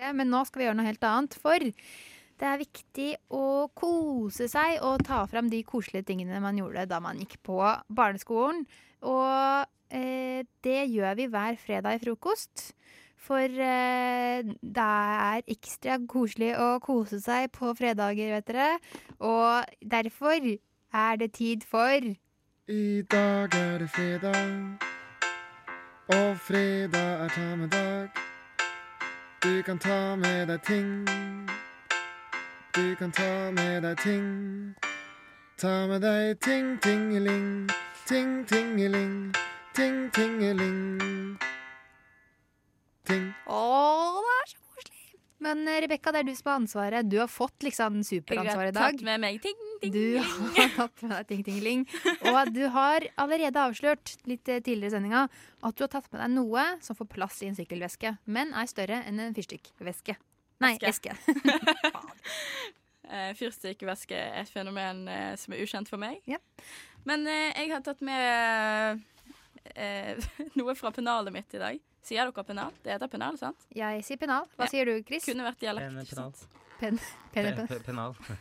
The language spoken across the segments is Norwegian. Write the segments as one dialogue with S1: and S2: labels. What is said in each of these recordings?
S1: det, men nå skal vi gjøre noe helt annet. For det er viktig å kose seg og ta fram de koselige tingene man gjorde da man gikk på barneskolen. Og eh, det gjør vi hver fredag i frokost. For eh, det er ekstra koselig å kose seg på fredager, vet dere. Og derfor er det tid for
S2: I dag er det fredag, og fredag er ta med dag. Du kan ta med deg ting. Du kan ta med deg ting. Ta med deg ting, tingeling. Ting, tingeling. Ting, tingeling. Ting.
S1: Å, det er så koselig! Men eh, Rebekka, det er du som har ansvaret. Du har fått liksom superansvaret i dag.
S3: Tatt med meg ting, ting.
S1: Du har tatt med deg ting-tingeling. Og du har allerede avslørt litt eh, tidligere i sendinga at du har tatt med deg noe som får plass i en sykkelveske, men er større enn en fyrstikkveske. Nei,
S3: Veske.
S1: eske.
S3: Eh, Fyrstikkvæske er et fenomen eh, som er ukjent for meg.
S1: Ja.
S3: Men eh, jeg har tatt med eh, noe fra pennalet mitt i dag. Sier dere pennal? Det heter pennal, sant?
S1: Jeg sier pennal. Hva
S3: Ja.
S1: sier du, Chris?
S3: Kunne vært dialekt.
S4: Pen-
S3: ikke
S4: pennal.
S3: sant?
S1: Pen, pen, pen.
S4: Pe- pe-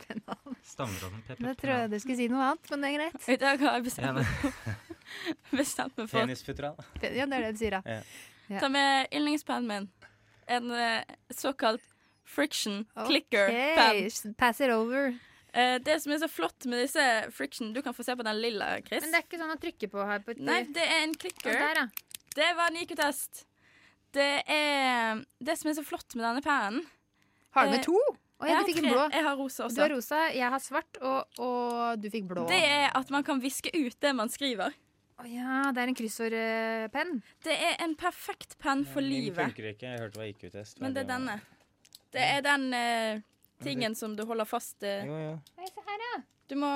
S4: Pennal. Stammeråden. pe- pe-
S1: Jeg trodde
S4: pennal.
S1: jeg du skulle si noe annet, men det er greit.
S3: I dag har jeg
S4: Ja,
S3: bestemt,
S4: men
S3: bestemt meg for
S4: Penisfutteral.
S1: Pen- Ja, det er det du sier, da.
S3: å ta med yndlingspennen min. En eh, såkalt friction clicker-penn.
S1: Okay. Pass it over.
S3: Eh, det som er så flott med disse friction Du kan få se på den lilla, Chris.
S1: Men det er ikke sånn å trykke på her. På et,
S3: Nei, det er en
S1: Å,
S3: clicker.
S1: der, ja.
S3: Det var en IQ-test. Det er det som er så flott med denne pennen.
S1: Har du med
S3: Eh,
S1: to? Å ja,
S3: Jeg
S1: du
S3: har
S1: fikk en
S3: tre-
S1: blå.
S3: Jeg har rosa
S1: Du har
S3: også.
S1: rosa, jeg har svart, og, og du fikk blå.
S3: Det er at man kan viske ut det man skriver.
S1: Å ja, det er en kryssordpenn.
S3: Det er en perfekt penn for
S4: Min
S3: livet.
S4: funker ikke. Jeg hørte det var IQ-test.
S3: Men det er denne. Det er den eh, tingen som du holder fast eh.
S4: Jo, jo.
S1: Oi, se her, ja.
S3: Du må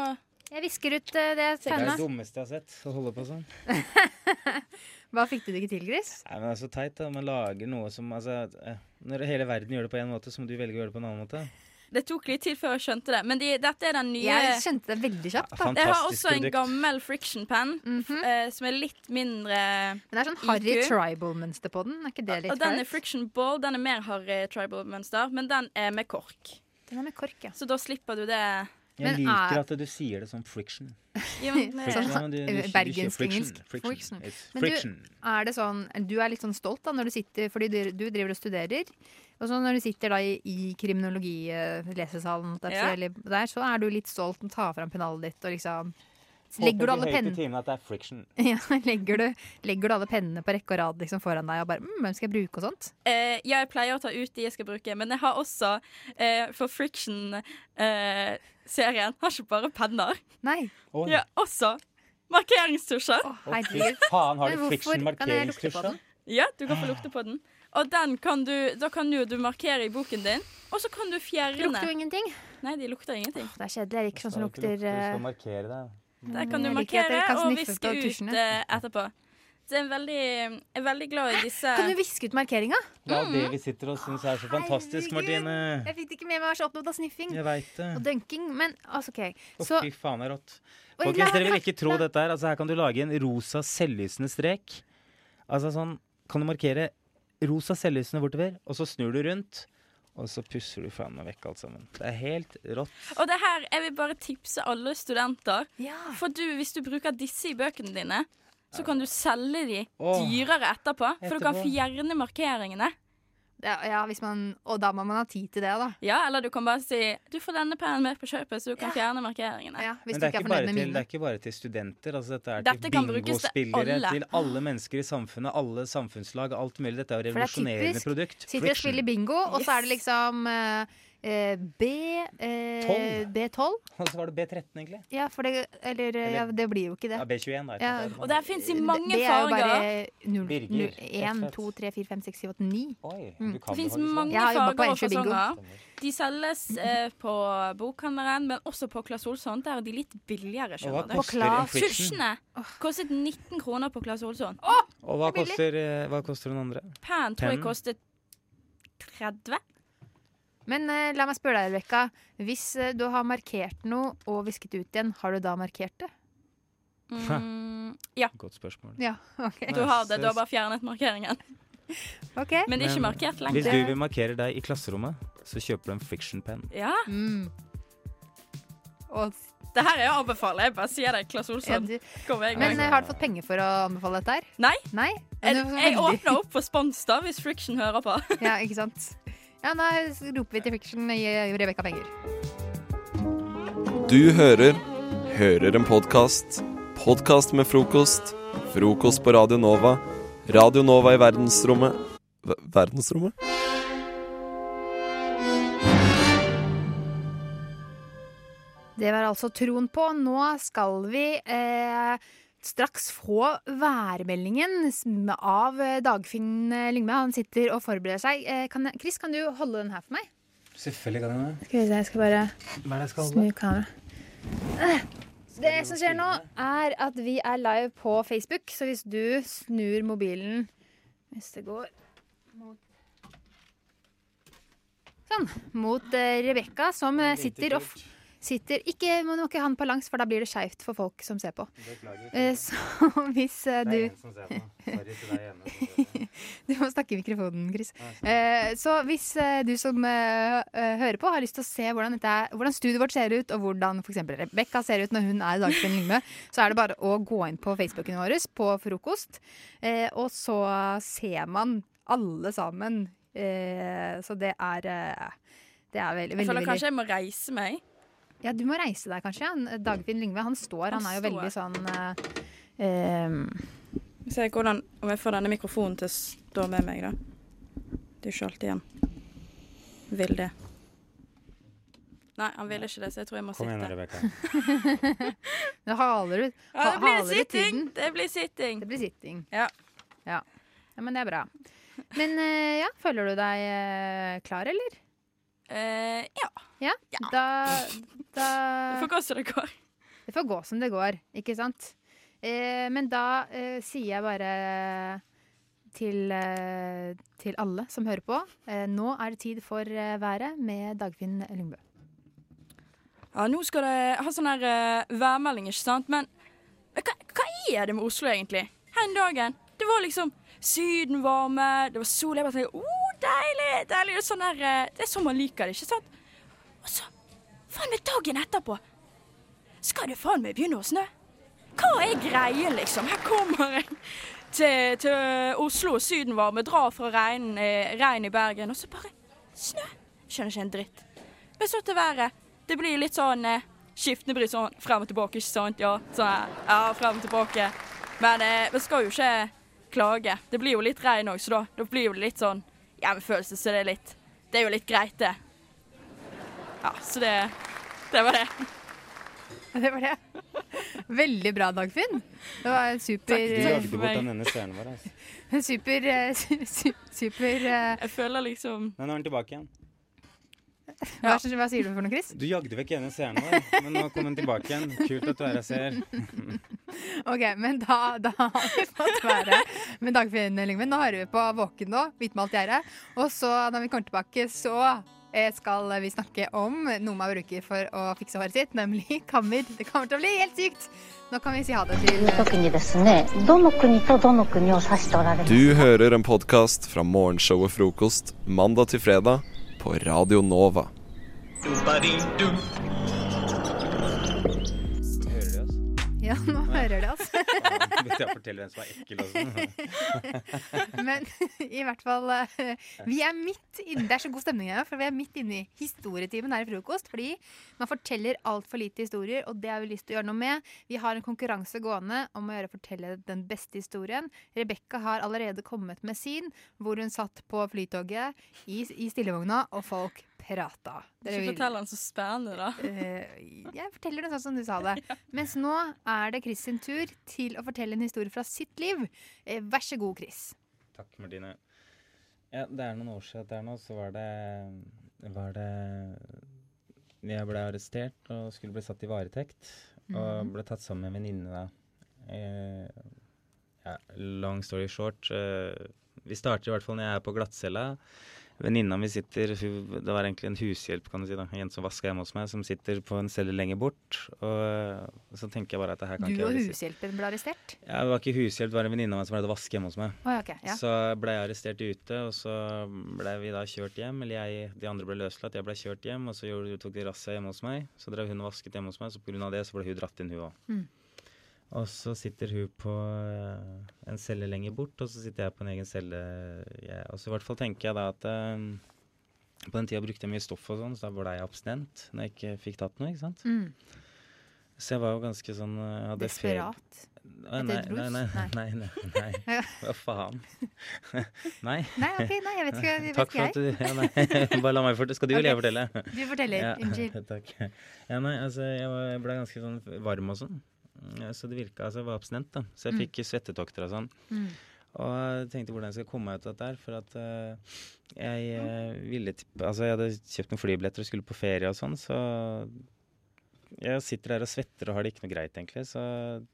S1: Jeg visker ut eh, det
S3: er
S4: Det er
S1: penna.
S4: det dummeste jeg har sett. Å holde på sånn.
S1: Hva fikk du det ikke til, Chris?
S4: Nei, men det er så teit. da. Man lager noe som altså, eh, Når hele verden gjør det på én måte, så må du velge å gjøre det på en annen måte.
S3: Det tok litt tid før jeg skjønte det, men de, dette er den nye
S1: Jeg skjønte det veldig kjapt. da.
S3: Jeg har også en
S4: produkt.
S3: gammel friction pen
S1: Mhm.
S3: eh, som er litt mindre
S1: Men det er sånn harry
S3: IQ.
S1: tribal-mønster på den. Er ikke det litt
S3: Og den er
S1: flaut?
S3: friction ball. Den er mer harry tribal-mønster, men den er med kork.
S1: Den er med kork, ja.
S3: Så da slipper du det.
S4: Jeg
S1: Men
S4: liker
S1: er-
S4: at du sier det som friction.
S3: Ja, men-
S1: Sånn.
S4: Ja, men du- du- du sier
S1: Bergensk
S4: friction,
S1: engelsk. Friction.
S4: Friction. It's
S1: Men du-
S4: friction.
S1: Er det sånn, Du er litt sånn stolt da når du sitter, fordi du, du driver og studerer. Og så når du sitter da i, i kriminologilesesalen,
S3: Ja.
S1: der, der, så er du litt stolt og tar fram pennalet ditt og liksom Legger du alle pennene
S4: pennene? At det er friction.
S1: Ja, legger du, legger du alle pennene på rekke og rad liksom foran deg og bare mm, 'Hvem skal jeg bruke?' og sånt?
S3: Eh, ja, jeg pleier å ta ut de jeg skal bruke, men jeg har også, eh, for Friction-serien, har ikke bare penner.
S1: Nei.
S4: Å,
S3: Jeg har også markeringstusjer.
S1: Å,
S4: å, fy
S1: herregud.
S4: faen, har
S1: Men
S4: du
S1: hvorfor- Kan
S4: friction
S1: jeg lukte på
S4: markeringstusj? da?
S1: den?
S3: Ja, du kan få lukte på den. Og den kan du, da kan jo du markere i boken din, og så kan du
S1: Det lukter jo
S3: fjerne
S1: ingenting.
S3: Nei, de lukter ingenting.
S1: Det er kjedelig. Jeg liker sånn som
S4: Skal ikke
S1: lukter
S4: lukte, du
S1: eh,
S4: skal markere deg.
S3: Der kan du
S1: Jeg liker at
S3: markere
S1: dere kan
S3: og
S1: sniffe
S3: viske
S1: på
S3: ut
S1: tusjene.
S3: eh, etterpå. Så jeg er veldig, jeg er veldig glad i disse
S1: Kan du viske ut markeringa?
S4: Det er det vi sitter og syns er så fantastisk,
S1: Mm. Herregud.
S4: Martine.
S1: Jeg fikk det ikke med meg, jeg var så opptatt av sniffing.
S4: Jeg veit det.
S1: Og dunking, men altså, OK.
S4: Å,
S1: Så
S4: fy faen, det er rått.
S1: Oi,
S4: Folkens,
S1: la-
S4: dere vil ikke tro
S1: la-
S4: dette her. Altså, her kan du lage en rosa selvlysende strek. Altså sånn Kan du markere rosa selvlysende bortover, og så snur du rundt, og så pusser du faen meg vekk alt sammen. Det er helt rått.
S3: Og det her, jeg vil bare tipse alle studenter.
S1: Ja.
S3: For du, hvis du bruker disse i bøkene dine, så kan du selge de
S4: Åh.
S3: dyrere etterpå. For du kan
S4: Etterpå.
S3: fjerne markeringene.
S1: ja, ja, hvis man Og da må man ha tid til det, da.
S3: Ja, eller du kan bare si Du får denne pennen med på kjøpet, så du kan fjerne markeringene.
S1: Ja, hvis du
S4: Men det er,
S1: ikke er
S4: ikke bare
S1: fornøyd med
S4: til, det
S1: mine.
S4: er ikke bare til studenter. Altså, dette er
S3: Dette kan
S4: til
S3: brukes til
S4: bingospillere,
S3: alle.
S4: til alle mennesker i samfunnet, alle samfunnslag, alt mulig. Dette er jo
S1: For det er
S4: revolusjonerende
S1: typisk.
S4: produkt.
S1: Sitter og
S4: Friction.
S1: spiller bingo, og så er det
S3: Yes.
S1: liksom eh, eh, B, eh,
S4: Tolv.
S1: B12.
S4: Og så var det B13, egentlig.
S1: Ja, for det Eller eh, ja, det blir jo ikke det.
S4: Ja, B21, da.
S1: Ja.
S3: Og der fins i mange
S1: det er jo
S3: farger.
S1: bare 0,
S4: Birger,
S1: 0,
S4: rett
S1: 1,
S4: og slett.
S1: 2, 3, 4, 5, 6, 7, 8, 9.
S4: Oi,
S1: Mm.
S4: du
S3: Det
S4: kan
S3: fins
S4: faktisk.
S3: mange sånn,
S1: Jeg har jobbet på
S3: farger og
S1: Ensjø Bingo.
S3: fasonger. De selges eh, på bokhandleren, men også på Claes Olsson. Der er de litt billigere,
S4: Og hva
S3: skjønner du.
S4: koster en
S1: Claes.
S4: friction?
S3: Tusjene kostet 19 kroner på Claes Olsson.
S4: Og hva koster, eh, hva koster den andre?
S3: Pennen tror jeg
S4: Pennen.
S3: kostet 30.
S1: Men eh, la meg spørre deg, Rebekka. Hvis eh, du har markert noe og visket ut igjen, har du da markert det?
S3: Mm, ja,
S4: Godt spørsmål.
S3: mm,
S1: Ja, ok.
S3: du har det. Du har bare fjernet markeringen.
S1: OK?
S3: Men det er ikke
S4: Men
S3: markert
S4: Hvis
S3: lenger.
S4: du vil markere deg i klasserommet, så kjøper du en friction pen.
S3: Ja.
S1: Mm. Og,
S3: Det her er jo å anbefale. Jeg bare sier det. Klass
S1: ja,
S3: Olsson.
S1: du,
S3: Kom igjen.
S1: men eh, har du fått penger for å anbefale dette her?
S3: Nei.
S1: Nei? Men
S3: Jeg,
S1: du
S3: jeg
S1: var så heldig.
S3: åpner opp for spons, da, hvis Friction hører på.
S1: Ja, ikke sant? Ja, da roper vi til Friction gi Rebekka penger.
S5: Du hører Hører en podkast. Podkast med frokost. Frokost på Radio Nova. Radio Nova i verdensrommet Ver- Verdensrommet?
S1: Det var altså troen på. Nå skal vi eh, straks få værmeldingen s- av eh, Dagfinn eh, Lyngme. Han sitter og forbereder seg. Eh, kan jeg, Chris, kan du holde den her for meg?
S4: Selvfølgelig kan jeg det.
S1: Skal vi se, jeg skal bare
S4: Hva er det jeg skal
S1: snu kameraet. Eh, Det som skjer nå, er at vi er live på Facebook, så hvis du snur mobilen Hvis det går mot Sånn. Mot eh, Rebekka, som eh, sitter og f- sitter Ikke, man må ikke ha den på langs, for da blir det skeivt for folk som ser på. Eh, Så hvis eh, du Du må snakke i mikrofonen, Chris. Eh, Så hvis eh, du som eh, eh, hører på har lyst til å se hvordan, dette er, hvordan studioet vårt ser ut, og hvordan f.eks. Rebekka ser ut når hun er Dagfinn Lyngmø, så er det bare å gå inn på Facebooken vår på frokost, eh, og så ser man alle sammen. Eh, Så det er eh, det er
S3: Jeg
S1: veldig, veldig,
S3: føler
S1: veldig
S3: kanskje jeg må reise meg.
S1: ja, du må reise deg kanskje. Han- Dagfinn Lyngve, han står. Han,
S3: Han
S1: er jo
S3: står.
S1: veldig sånn eh, ehm,
S3: Se hvordan, om jeg får denne mikrofonen til å stå med meg, da. Det er jo ikke alltid han vil det. Nei, han vil ikke det, så jeg tror jeg må
S4: Kom igjen,
S3: sitte.
S4: Rebekka.
S1: Det haler ut.
S3: Ja, det
S1: Ha-
S3: blir
S1: haler ut
S3: sitting!
S1: tiden.
S3: Det blir sitting.
S1: Det blir sitting.
S3: Ja.
S1: ja. Ja, Men det er bra. Men eh, ja, føler du deg eh, klar, eller?
S3: Eh, ja.
S1: Ja?
S3: Ja.
S1: Da, da
S3: Vi får gå så det går.
S1: Det får gå som det går, ikke sant? Eh, men da eh, sier jeg bare til, eh, til alle som hører på, eh, nå er det tid for eh, været med Dagfinn Lyngbø.
S3: Ja, nå skal det ha sånn her eh, værmelding, ikke sant? Men men hva, hva er det med Oslo, egentlig? Her den dagen. Det var liksom Syden varme, det var sol. Jeg bare tenkte oh, deilig! deilig. Det er sånn her, eh, det er sånn man liker det, ikke sant? Og så faen meg dagen etterpå skal det faen meg begynne å snø. Hva er greien, liksom? Her kommer jeg til, til Oslo og Syden varme, drar fra regn, eh, regn i Bergen, og så bare snø. Skjønner ikke en dritt. Men så til været. Det blir litt sånn eh, skiftende bry sånn frem og tilbake, ikke sant? Ja, sånn her. Ja, frem og tilbake. Men eh, vi skal jo ikke klage. Det blir jo litt regn òg, så da, da blir jo det litt sånn hjemmefølelse, så det er litt Det er jo litt greit, det. Ja, så det Det var det.
S1: Det var det. Veldig bra, Dagfinn. Det var en
S4: Du
S1: super,
S4: jagde bort den ene stjernen vår. Altså.
S1: en super, eh, su- su- super eh,
S3: Jeg føler liksom
S4: Nei, nå er den tilbake igjen.
S1: hva, hva sier du for noe, Chris?
S4: Du jagde vekk ene stjernen vår, men nå kom den tilbake igjen. Kult at du er her, ser.
S1: Ok, men da, da har vi fått være med Dagfinn Lyngve. Nå hører vi på Våken nå, hvitmalt gjerde. Og så, når vi kommer tilbake, så eh, skal vi snakke om noe man bruker for å fikse håret sitt, nemlig kammer. Det kommer til å bli helt sykt! Nå kan vi si ha det til
S6: という時にですねどの国とどの国を指しておられる
S5: Du hører en podkast fra morgenshowet Frokost mandag til fredag på Radio Nova.
S4: Hører de oss?
S1: Ja, nå hører det, altså.
S4: Faen, Hvis jeg forteller hvem som er ekkel og sånn.
S1: Men i hvert fall eh, Vi er midt inne Det er så god stemning her, for vi er midt inne i historietimen her i frokost. Fordi man forteller altfor lite historier, og det har vi lyst til å gjøre noe med. Vi har en konkurranse gående om å gjøre å fortelle den beste historien. Rebekka har allerede kommet med sin, hvor hun satt på flytoget i, i stillevogna, og folk prata. Dere
S3: Ikke
S1: vil-
S3: fortell han så spennende, da.
S1: Eh, jeg forteller det sånn som du sa det. Mens nå er det Chris sin tur til å fortelle en historie fra sitt liv. Eh, Vær så god, Chris.
S4: Takk, Martine. Ja, det er noen år siden der nå, så var det Var det Jeg ble arrestert og skulle bli satt i varetekt. Og ble tatt sammen med en venninne da. Eh, ja, long story short. Eh, vi starter i hvert fall når jeg er på glattcella. Venninna mi sitter hun- Det var egentlig en hushjelp, kan du si. da En som vasker hjemme hos meg, som sitter på en celle lenger bort. Og så tenker jeg bare at det her kan
S1: Du
S4: ikke
S1: og
S4: jeg
S1: hushjelpen ble arrestert?
S4: Ja, det var ikke hushjelp, det var en venninne av meg som pleide å vaske hjemme hos meg.
S1: Å ja, ok. Ja.
S4: Så ble jeg arrestert ute, og så ble vi da kjørt hjem. Eller jeg, de andre ble løslatt, jeg ble kjørt hjem, og så gjorde, tok de razzia hjemme hos meg. Så drev hun og vasket hjemme hos meg, så pga. det så ble hun dratt inn, hun òg.
S1: Mm.
S4: Og så sitter hun på eh, en celle lenger bort, og så sitter jeg på en egen celle. Jeg, og så i hvert fall tenker jeg da at eh, på den tida brukte jeg mye stoff og sånn, så da ble jeg abstinent når jeg ikke fikk tatt noe. ikke sant?
S1: Mm.
S4: Så jeg var jo ganske sånn eh, hadde feber-
S1: Desperat.
S4: Nei,
S1: Etter
S4: nei,
S1: et
S4: nei,
S1: rus?
S4: nei, nei, nei, nei. Hva faen? Nei.
S1: Nei, ok, nei, jeg vet ikke. Jeg vet
S4: Takk for
S1: ikke
S4: at
S1: jeg.
S4: du ja, nei, Bare la meg fortelle. Skal du eller jeg
S1: Ok.
S4: fortelle?
S1: Du forteller. Unnskyld.
S4: Ja, takk. Ja, nei, altså, jeg, var, jeg ble ganske sånn varm og sånn. Ja, Så det virka altså, Jeg var abstinent, da. Så jeg
S1: Mm.
S4: fikk svettetokter og sånn.
S1: Mm.
S4: Og jeg tenkte hvordan jeg skal komme meg ut av dette her. For at eh, jeg eh, ville tippe Altså, jeg hadde kjøpt noen flybilletter og skulle på ferie og sånn, så jeg sitter her og svetter og har det ikke noe greit, egentlig. Så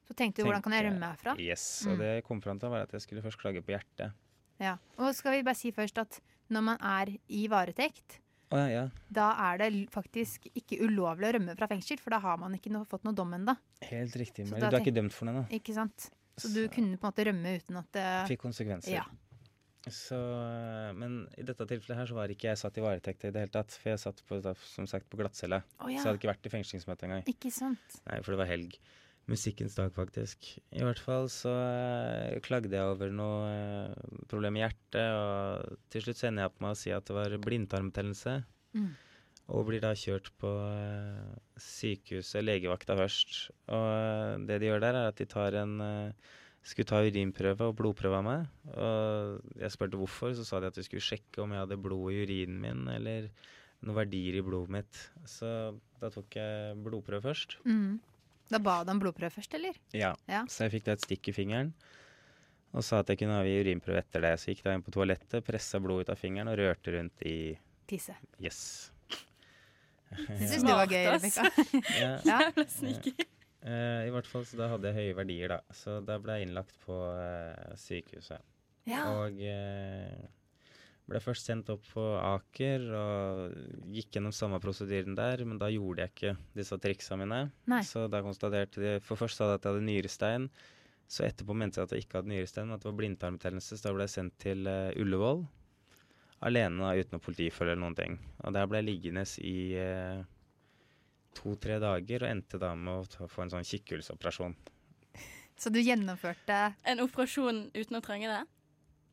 S1: Så tenkte du hvordan kan jeg
S4: Tenker-
S1: rømme herfra?
S4: yes.
S1: Mm.
S4: Og det jeg kom fram til, var at jeg skulle først klage på hjertet.
S1: Ja. Og skal vi bare si først at når man er i varetekt,
S4: Å ja, ja.
S1: da er det l- faktisk ikke ulovlig å rømme fra fengsel, for da har man ikke no fått noe dom ennå.
S4: Helt riktig.
S1: Så
S4: Men
S1: da
S4: du er
S1: tenk-
S4: ikke dømt for det ennå.
S1: Ikke sant? Så du kunne på en måte rømme uten at det
S4: Fikk konsekvenser.
S1: Ja.
S4: Så, eh, men i dette tilfellet her så var ikke jeg satt i varetekt i det hele tatt. For jeg satt på, da, som sagt på glattcelle.
S1: Å
S4: Så
S1: ja.
S4: jeg hadde ikke vært i fengslingsmøte engang.
S1: Ikke sant.
S4: Nei, for det var helg. Musikkens dag, faktisk. I hvert fall så eh, klagde jeg over noe eh, problem i hjertet, og til slutt så ender jeg opp med å si at det var blindtarmbetennelse.
S1: Mm.
S4: Og blir da kjørt på eh, sykehuset, legevakta først. Og eh, det de gjør der, er at de tar en eh, skulle ta urinprøve og blodprøve av meg. Og jeg spurte hvorfor, så sa de at de skulle sjekke om jeg hadde blod i urinen min, eller noen verdier i blodet mitt. Så da tok jeg blodprøve først.
S1: Mm. Da ba du om blodprøve først, eller?
S4: Ja.
S1: Ja.
S4: Så jeg fikk da et stikk i fingeren. Og sa at jeg kunne avgi urinprøve etter det. Så gikk jeg da inn på toalettet, pressa blod ut av fingeren og rørte rundt i
S1: Tisse.
S4: Yes.
S1: Det syns du var
S3: Smart,
S1: gøy,
S3: ass.
S1: Rebekka.
S4: Ja.
S1: Ja.
S3: Jævla sneaky.
S4: Eh, I hvert fall så da hadde jeg høye verdier, da. Så da ble jeg innlagt på eh, sykehuset.
S1: Ja.
S4: Og eh, ble først sendt opp på Aker og gikk gjennom samme prosedyren der, men da gjorde jeg ikke disse triksa mine.
S1: Nei.
S4: Så da konstaterte de For først sa de at jeg hadde nyrestein. Så etterpå mente jeg at jeg ikke hadde nyrestein, men at det var blindtarmbetennelse. Så da ble jeg sendt til eh, Ullevål alene da, uten noe politifølge eller noen ting. Og der ble jeg liggende i eh, to-tre dager og endte da med å ta, få en sånn kikkhullsoperasjon.
S1: Så du gjennomførte
S3: En operasjon uten å trenge det?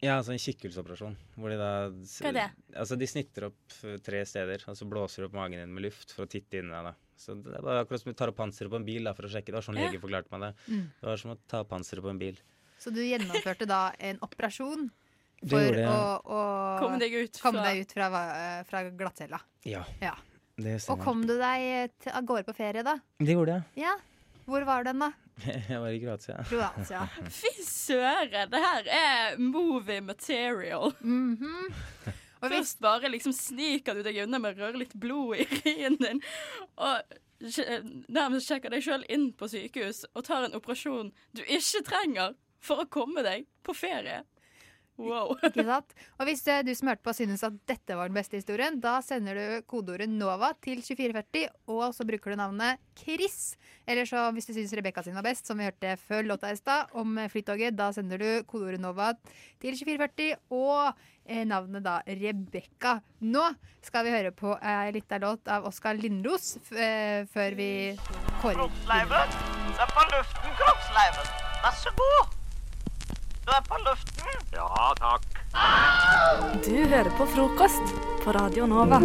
S4: Ja, altså en kikkhullsoperasjon. Hvor de da
S3: Hva er det?
S4: Altså De snitter opp eh, tre steder, og så blåser de opp magen din med luft for å titte inn i deg. da. Så Det er bare akkurat som du tar opp panseret på en bil da, for å sjekke. Det var sånn
S3: Ja.
S4: legen forklarte meg det.
S1: Mm.
S4: Det var som å ta panseret på en bil.
S1: Så du gjennomførte da en operasjon
S4: Du
S1: for
S4: gjorde-
S1: å, å
S3: Komme deg ut fra
S1: komme deg ut fra, va- fra glattcella.
S4: Ja.
S1: Ja.
S4: Det
S1: Og
S4: stemmer.
S1: kom du deg til- av gårde på ferie, da?
S4: Det gjorde jeg.
S1: Ja. Hvor var den, da?
S4: Jeg var i Kroatia.
S1: Kroatia.
S3: Fy søren, det her er movie material.
S1: Mhm. Og hvis,
S3: Først bare liksom sniker du deg unna med å røre litt blod i rien din, og sj- nærmest sjekker deg sjøl inn på sykehus og tar en operasjon du ikke trenger for å komme deg på ferie. Wow.
S1: ikke sant? Og hvis eh, du som hørte på synes at dette var den beste historien, da sender du kodeordet NOVA til 2440, og så bruker du navnet Chris. Eller så hvis du synes Rebekka sin var best, som vi hørte før låta i stad, om eh, Flytoget, da sender du kodeordet NOVA til 2440 og eh, navnet da Rebekka. Nå skal vi høre på ei lita låt av Oskar Lindros f eh, før vi kårer.
S7: Kroppsleiven. Du er på luften, Kroppsleiven. Vær så god. Du er på luften. Ja, takk.
S8: Du hører på frokost på Radio Nova.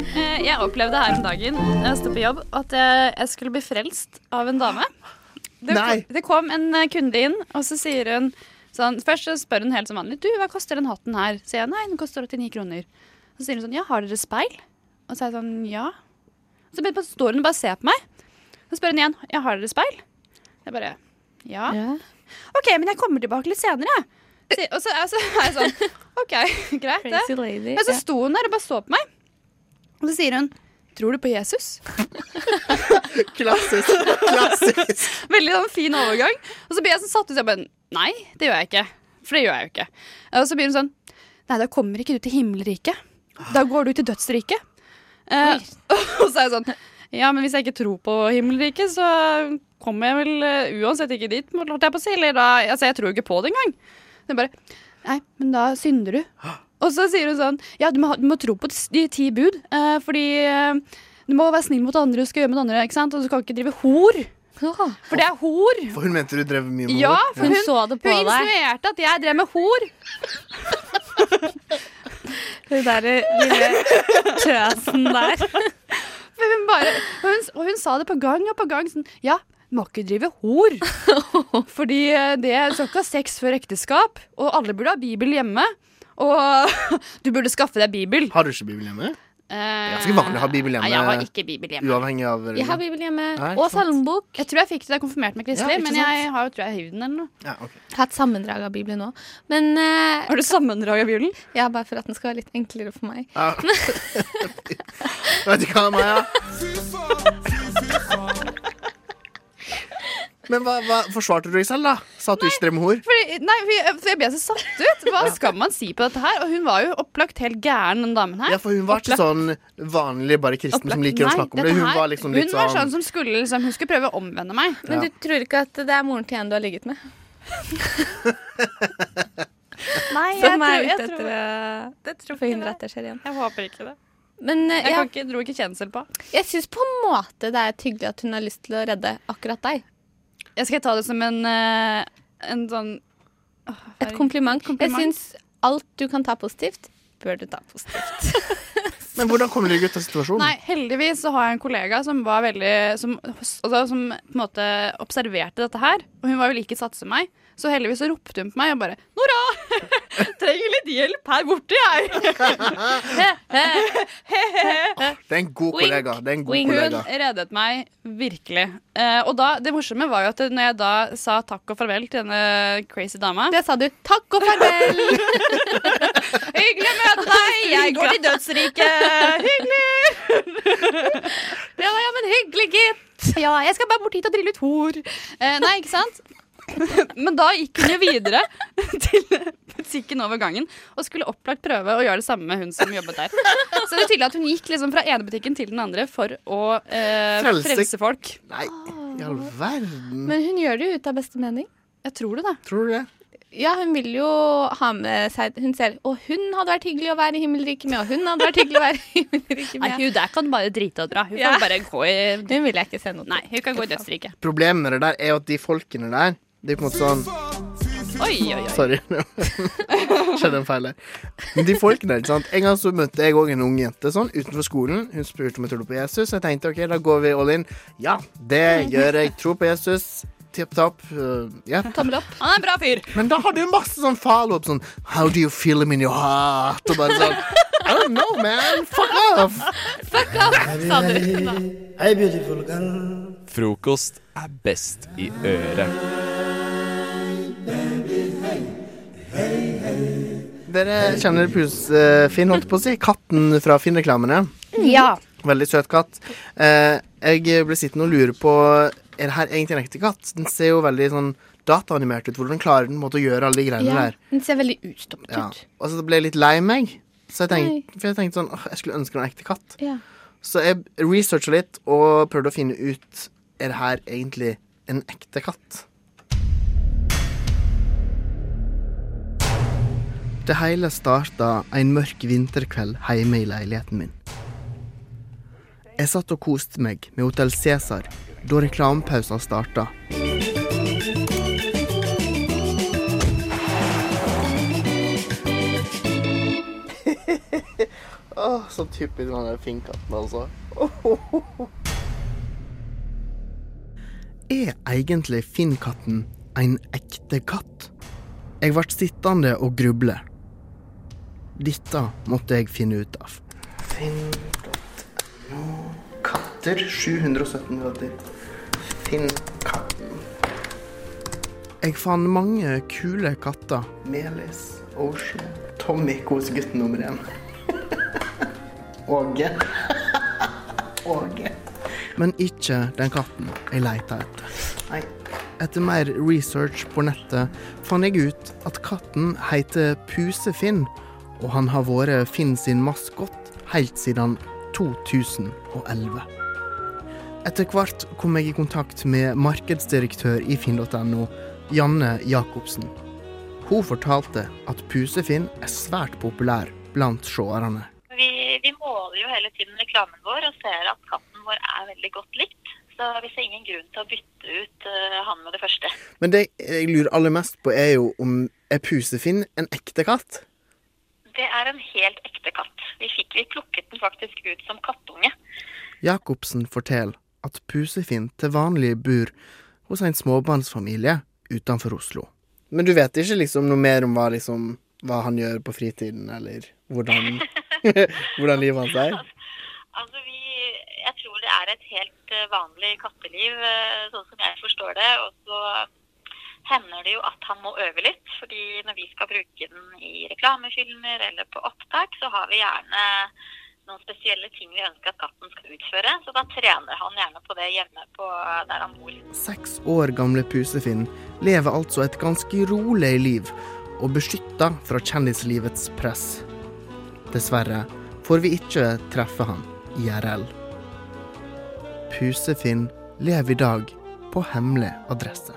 S9: Eh, Jeg opplevde her om dagen når jeg stod på jobb, at jeg, jeg skulle bli frelst av en dame. Det,
S2: Nei.
S9: det kom en eh, kunde inn, og så sier hun sånn Først så spør hun helt som vanlig Du, hva koster den hatten her? Så sier jeg nei, den koster 89 kroner. Så sier hun sånn Ja, har dere speil? Og så er jeg sånn Ja. Så begynner på- står hun og bare ser på meg. Så spør hun igjen Ja, har dere speil? Jeg bare Ja. OK, men jeg kommer tilbake litt senere, jeg. Sier- Og så er så er jeg sånn OK, greit, det.
S8: lady.
S9: Men så sto hun der og bare så på meg. Og så sier hun Tror du på Jesus?
S2: Klassisk! Klassisk!
S9: Veldig sånn fin overgang. Og så blir jeg sånn satt ut. Jeg bare Nei, det gjør jeg ikke. For det gjør jeg jo ikke. Og så blir hun sånn Nei, da kommer ikke du til himmelriket. Da går du til dødsriket. Eh, og så er jeg sånn Ja, men hvis jeg ikke tror på himmelriket, så kommer jeg vel eh, uansett ikke dit, holdt jeg på å si. Eller da Altså, jeg tror jo ikke på det engang. Det er bare Nei, men da synder du. Og så sier hun sånn Ja, du må, ha- du må tro på de ti bud, eh, fordi eh, du må være snill mot andre, du skal gjøre mot andre, ikke sant? Og du kan ikke drive hor. For det er hor.
S10: For hun mente du drev mye med
S9: Ja,
S10: hår.
S9: for hun,
S8: så det på
S9: hun
S8: deg.
S9: insinuerte at jeg drev med hor.
S8: Hun der eh, lille tøsen der.
S9: For hun bare, og, hun, og hun sa det på gang og på gang. Sånn, ja, må ikke drive hor. Fordi eh, det du skal ikke ha sex før ekteskap, og alle burde ha Bibel hjemme. Og du burde skaffe deg Bibel.
S10: Har du ikke Bibel hjemme?
S9: Jeg
S10: ganske vanlig å ha Bibel hjemme.
S9: Nei, jeg har ikke Bibel hjemme.
S10: Uavhengig av
S8: Jeg har Bibel hjemme.
S10: Nei,
S8: Og
S10: sant.
S8: salmebok.
S9: Jeg tror jeg fikk det da jeg konfirmerte meg
S10: Ja,
S9: kristelig,
S10: ikke
S9: men
S10: sant?
S9: jeg har jo, tror jeg hivd den eller noe.
S10: Ja, ok.
S8: Jeg har et sammendrag av Bibelen nå. Men eh,
S9: Har du sammendrag av Bibelen?
S8: ja, bare for at den skal være litt enklere for meg.
S10: Ja. Vet du hva, Maja? Men hva, hva forsvarte du deg selv, da? Sa at du ikke drev med hor?
S9: Fordi, nei, for jeg, for jeg ble så satt ut. Hva skal man si på dette her? Og hun var jo opplagt helt gæren, den damen her.
S10: Ja, for hun var ikke sånn vanlig bare kristen som liker å
S9: Nei,
S10: snakke om det.
S9: dette
S10: Hun
S9: her-
S10: var liksom litt
S9: Hun var sånn
S10: sånn
S9: som skulle, liksom, hun skulle prøve å omvende meg.
S8: Men du tror ikke at det er moren til en du har ligget med?
S9: Nei,
S8: Som er ute etter eh, å
S9: det tror
S8: forhindre at det skjer igjen.
S9: Jeg håper ikke det.
S8: Men eh,
S9: Jeg
S8: ja,
S9: kan ikke, dro ikke kjensel på.
S8: jeg syns på en måte det er hyggelig at hun har lyst til å redde akkurat deg.
S9: Jeg skal ta det som en, eh, en sånn
S8: Et kompliment. Jeg
S9: Kompliment.
S8: syns alt du kan ta positivt, bør du ta positivt.
S10: Men hvordan kom dere ut av situasjonen?
S9: Nei, heldigvis så har jeg en kollega som var veldig Som, altså, som på en måte observerte dette her. Og hun var jo like satt som meg. Så heldigvis så ropte hun på meg og bare 'Nora! Trenger litt hjelp her borte, jeg!'
S10: Det er en
S9: Wink,
S10: god kollega. Det er en god
S9: Hun
S10: kollega.
S9: reddet meg virkelig. Eh, og da, det morsomme var jo at når jeg da sa takk og farvel til denne crazy dama
S8: Det sa du. Takk og farvel!
S9: Hyggelig å møte deg! Jeg går til dødsriket! Hyggelig! ja, ja, men hyggelig, gitt. Ja, jeg skal bare bort hit og drille ut hor. Eh, nei, ikke sant? Men da gikk hun jo videre til butikken over gangen og skulle opplagt prøve å gjøre det samme med hun som jobbet der. Så det er tydelig at hun gikk liksom fra ene butikken til den andre for å eh,
S10: Frelse.
S9: frelse folk.
S10: Nei, i all verden.
S8: Men hun gjør det jo ut av beste mening.
S9: Jeg tror det, da.
S10: Tror du det?
S8: Ja, hun vil jo ha med seg Hun ser Og hun hadde vært hyggelig å være i himmelriket med, og hun hadde vært hyggelig å være i himmelriket med.
S9: hun der kan bare drite og dra. Hun
S8: kan
S9: bare gå i
S8: Hun vil jeg ikke se noe til.
S9: Nei, hun kan gå i dødsriket.
S10: Problemet med det der er jo at de folkene der Det er på en måte sånn
S9: Oi, oi, oi.
S10: Sorry. Skjedde en feil der. Men de folkene, ikke sant. En gang så møtte jeg òg en ung jente sånn utenfor skolen. Hun spurte om jeg trodde på Jesus. Jeg tenkte OK, da går vi all in. Ja, det gjør jeg. Tro på Jesus. Tipp topp. Uh, ja.
S8: Tommel opp.
S9: Han er en bra fyr.
S10: Men da hadde hun masse sånn follow-up sånn How do you feel him in your heart? Og bare sånn I don't know, man. Fuck off.
S5: Frokost er best i øret.
S10: Dere kjenner Pus eh, Finn, holdt på å si. Katten fra Finn-reklamene.
S8: Ja.
S10: Veldig søt katt. Eh, jeg ble sittende og lure på Er det her egentlig en ekte katt. Den ser jo veldig sånn dataanimert ut. Hvordan klarer den på en måte å gjøre alle de greiene der?
S8: Den ser veldig utstoppet
S10: Ja.
S8: ut.
S10: Og så ble jeg litt lei meg. Så jeg tenkte, for jeg tenkte sånn «Åh, Jeg skulle ønske det var en ekte katt.
S8: Ja.
S10: Så jeg researcha litt og prøvde å finne ut Er det her egentlig en ekte katt. Det hele starta en mørk vinterkveld hjemme i leiligheten min. Jeg satt og koste meg med Hotell Cæsar da reklamepausen starta. Åh, så typisk han der finkatten, altså. Er egentlig finnkatten en ekte katt? Jeg ble sittende og gruble. Dette måtte jeg finne ut av. Finn.no Katter 717 katter. Finnkatten. Jeg fant mange kule katter. Melis, Ocean, Tommy kosegutten nummer én. Åge. Åge. Men ikke den katten jeg leita etter. Nei. Etter mer research på nettet fant jeg ut at katten heter Pusefinn, og han har vært Finn sin maskott helt siden 2011. Etter hvert kom jeg i kontakt med markedsdirektør i finn.no, Janne Jacobsen. Hun fortalte at Pusefinn er svært populær blant seerne.
S11: Vi, vi måler jo hele tiden reklamen vår og ser at katten vår er veldig godt likt. Så vi ser ingen grunn til å bytte ut eh, han med det første.
S10: Men det jeg lurer aller mest på, er jo om er Pusefinn en ekte katt?
S11: Det er en helt ekte katt. Vi fikk vi plukket den faktisk ut som kattunge.
S10: Jacobsen forteller at Pusefinn til vanlig bor hos en småbarnsfamilie utenfor Oslo. Men du vet ikke liksom noe mer om hva, liksom, hva han gjør på fritiden, eller hvordan, hvordan livet hans er?
S11: Altså, vi, jeg tror det er et helt eh, vanlig katteliv, eh, sånn som jeg forstår det. Og så hender det jo at han må øve litt. fordi når vi skal bruke den i reklamefilmer eller på opptak, så har vi gjerne noen spesielle ting vi ønsker at katten skal utføre. Så da trener han gjerne på det hjemme på der han bor.
S10: Seks år gamle Pusefinn lever altså et ganske rolig liv, og beskytta fra kjendislivets press. Dessverre får vi ikke treffe han IRL. Pusefinn lever i dag på hemmelig adresse.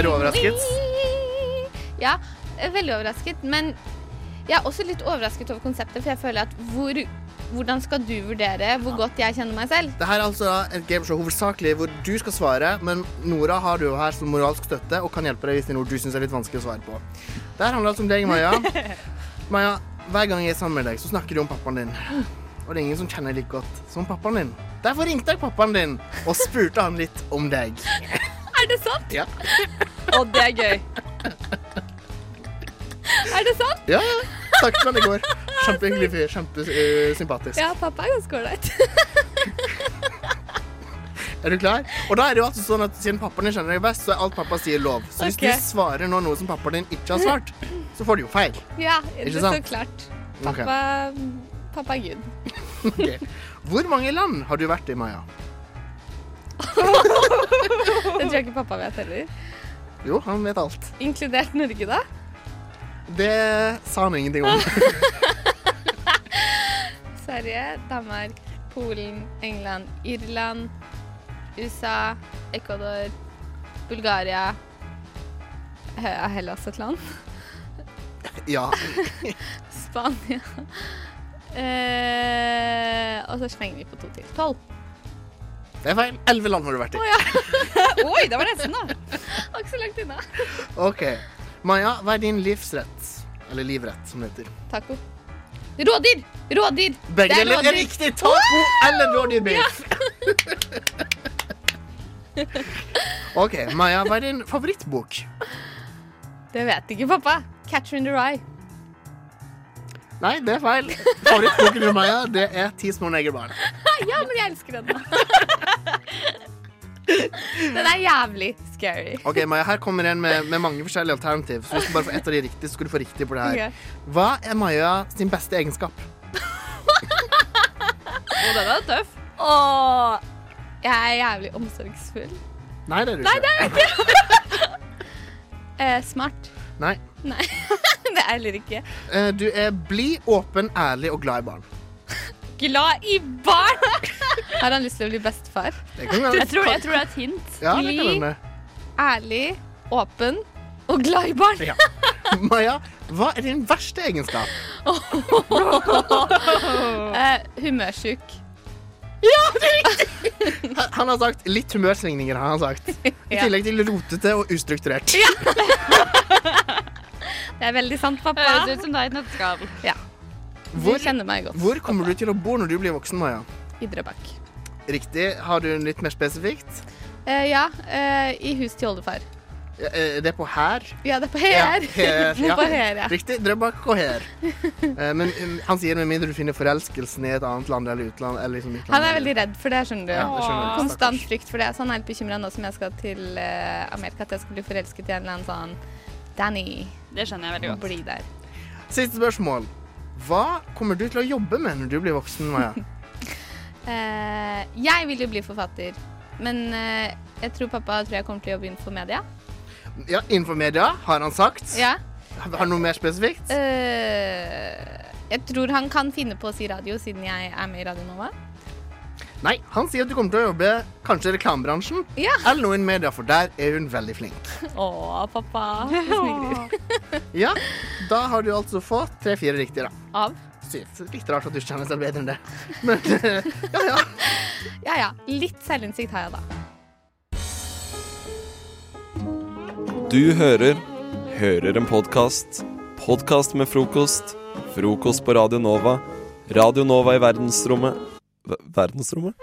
S10: Er du overrasket?
S8: Ja, jeg er veldig overrasket. Men jeg er også litt overrasket over konseptet, for jeg føler at hvor, hvordan skal du vurdere hvor godt jeg kjenner meg selv?
S10: Det her er altså da et gameshow hovedsakelig hvor du skal svare, men Nora har du jo her som moralsk støtte og kan hjelpe deg hvis det er noe du syns er litt vanskelig å svare på. Det her handler altså om deg, Maja. Maja, hver gang jeg er sammen med deg, så snakker du om pappaen din. Og det er ingen som kjenner deg like godt som pappaen din. Derfor ringte jeg pappaen din og spurte han litt om deg.
S8: Er det sant?
S10: Ja.
S9: Og det er gøy.
S8: Er det sant?
S10: Ja, ja. Snakket med han i går. Kjempehyggelig fyr. eh, Kjempesympatisk.
S8: Ja, pappa er ganske ålreit.
S10: Er du klar? Og da er det jo altså sånn at Siden pappaen din kjenner deg best, så er alt pappa sier lov. Så hvis
S8: Ok.
S10: du svarer nå noe som pappaen din ikke har svart, så får du jo feil.
S8: Ja,
S10: Ikke
S8: det er så
S10: sant?
S8: klart.
S10: Ok.
S8: Pappa, pappa er Gud.
S10: Ok. Hvor mange land har du vært i, Maja?
S8: Det tror jeg ikke pappa vet heller.
S10: Jo, han vet alt.
S8: Inkludert Norge, da?
S10: Det sa han ingenting om.
S8: Sverige, Danmark, Polen, England, Irland, USA, Ecuador, Bulgaria He- Er Hellas et land?
S10: Ja.
S8: Ah. Spania. Eh, og så slenger vi på to til. Tolv.
S10: Det er feil. Elleve land har du vært i.
S8: Oi, det var nesten, da. Var ikke så langt unna.
S10: OK. Maja, hva er din livsrett? Eller livrett, som det heter.
S8: Taco. Rådyr! Rådyr!
S10: Begge
S8: Det er
S10: deler er
S8: rådyr.
S10: riktig. Taco eller rådyrbiff. OK, Maja, hva er din favorittbok?
S8: Det vet ikke pappa. Catcher in the Rye.
S10: Nei, det er feil. Favorittboken til Maja, det er Ti små negerbarn.
S8: ja, men jeg elsker den. den er jævlig scary.
S10: OK, Maja, her kommer en med, med mange forskjellige alternativ. Så hvis du bare får ett av de riktige, så skal du få riktig på det her.
S8: Ok.
S10: Hva er Maja sin beste egenskap?
S8: Og den er tøff. jeg er jævlig omsorgsfull.
S10: Nei, det er du
S8: Nei,
S10: ikke.
S8: det er jeg ikke. Eh, smart.
S10: Nei.
S8: Nei, det er jeg heller ikke.
S10: Eh, Du er blid, åpen, ærlig og glad i barn.
S8: Glad i barn! Har han lyst til å bli bestefar?
S10: Det kan være.
S9: Jeg tror, jeg tror det er et hint.
S10: Ja, det kan
S8: Blid,
S10: hende.
S8: ærlig, åpen og glad i barn.
S10: Ja. Maja, hva er din verste egenskap?
S8: Eh, humørsjuk.
S10: Han han har sagt litt humørsvingninger, har han sagt. I
S8: Ja.
S10: tillegg til rotete og ustrukturert.
S8: Det er veldig sant, pappa.
S9: Høres ut som deg i et nøtteskall.
S8: Du
S10: Hvor-
S8: kjenner meg godt.
S10: Hvor kommer du til å bo når du blir voksen, Maja?
S8: I Drøbak.
S10: Riktig. Har du litt mer spesifikt?
S8: Eh, ja, eh, i hus til oldefar.
S10: Ja, eh, Det er på her.
S8: Ja, det er på her. Det er
S10: ja.
S8: på her, ja.
S10: Riktig. Drøbak og her. Eh, Men um, han sier med mindre du finner forelskelsen i et annet land eller utland. Eller liksom utland
S8: Han er veldig redd for det, skjønner du.
S10: Ja, det skjønner jeg.
S8: Konstant frykt for det. Så han er helt bekymra nå som jeg skal til eh, Amerika, at jeg skal bli forelsket i en eller annen sånn Danny.
S9: Det skjønner jeg veldig godt.
S8: Bli der.
S10: Siste spørsmål. Hva kommer du til å jobbe med når du blir voksen, Maja?
S8: Eh, jeg vil jo bli forfatter, men eh, jeg tror pappa tror jeg kommer til å jobbe innenfor media.
S10: Ja, Innenfor media, har han sagt.
S8: Ja.
S10: Har han noe mer spesifikt?
S8: Eh, jeg tror han kan finne på å si radio, siden jeg er med i Radio Nova.
S10: Nei, han sier at du kommer til å jobbe kanskje i reklamebransjen.
S8: Ja.
S10: Eller noe i media, for der er hun veldig flink.
S8: Å, pappa. Jeg smigrer.
S10: Ja, Da har du altså fått tre-fire riktige, da.
S8: Av?
S10: Sykt. Litt rart at du kjenner selv bedre enn det.
S8: Ja ja. Litt selvinnsikt har jeg, da.
S5: Du hører Hører en podkast. Podkast med frokost. Frokost på Radio Nova. Radio Nova i verdensrommet Ver- Verdensrommet?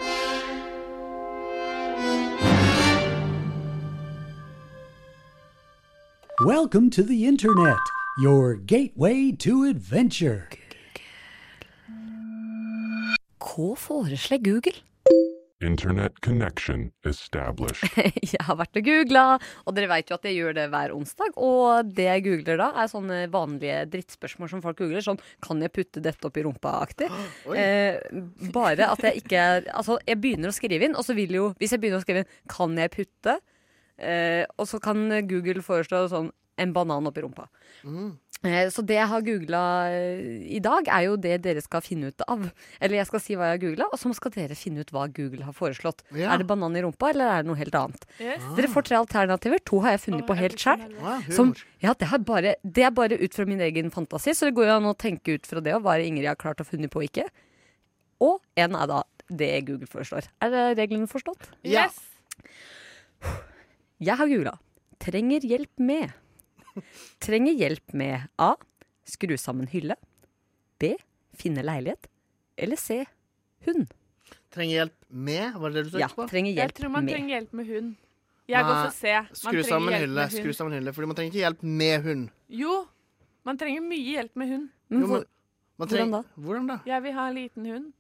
S12: Welcome to the internet, your gateway to adventure.
S13: Hva foreslår Google?
S14: Internet connection established.
S13: jeg har vært og googla, og dere vet jo at jeg gjør det hver onsdag. Og det jeg googler da, er sånne vanlige drittspørsmål som folk googler. Sånn 'kan jeg putte dette opp i rumpa?'-aktig.
S15: Oi.
S13: Eh, bare at jeg ikke er Altså, jeg begynner å skrive inn, og så vil jo Hvis jeg begynner å skrive inn 'kan jeg putte', eh, og så kan Google foreslå sånn 'en banan opp i rumpa'.
S10: Mm.
S13: Eh, Så det jeg har googla i dag, er jo det dere skal finne ut av. Eller jeg skal si hva jeg har googla, og så skal dere finne ut hva Google har foreslått.
S15: Ja.
S13: Er det banan i rumpa, eller er det noe helt annet?
S15: Yes.
S13: Dere får tre alternativer. To har jeg funnet på helt sjøl. Som Ja, det er, bare, det er bare ut fra min egen fantasi, så det går jo an å tenke ut fra det og hva Ingrid har klart å funnet på og ikke. Og en er da det Google foreslår. Er det reglene forstått?
S15: Ja.
S13: Jeg har googla 'trenger hjelp med'. Trenger hjelp med A. Skru sammen hylle. B. Finne leilighet. Eller C. Hund.
S10: Trenger hjelp med? Var det det du
S13: Ja,
S10: søkte på?
S13: trenger
S15: Jeg tror man trenger hjelp med hund. Jeg går for C. Man
S10: Skru
S15: trenger
S10: sammen
S15: hjelp
S10: hylle,
S15: med
S10: skru
S15: hund.
S10: sammen hylle. Fordi man trenger ikke hjelp med hund.
S15: Jo, man trenger mye hjelp med hund.
S10: Jo, man- man
S13: hvordan
S10: trenger- Hvordan da?
S15: Jeg vil ha en liten hund.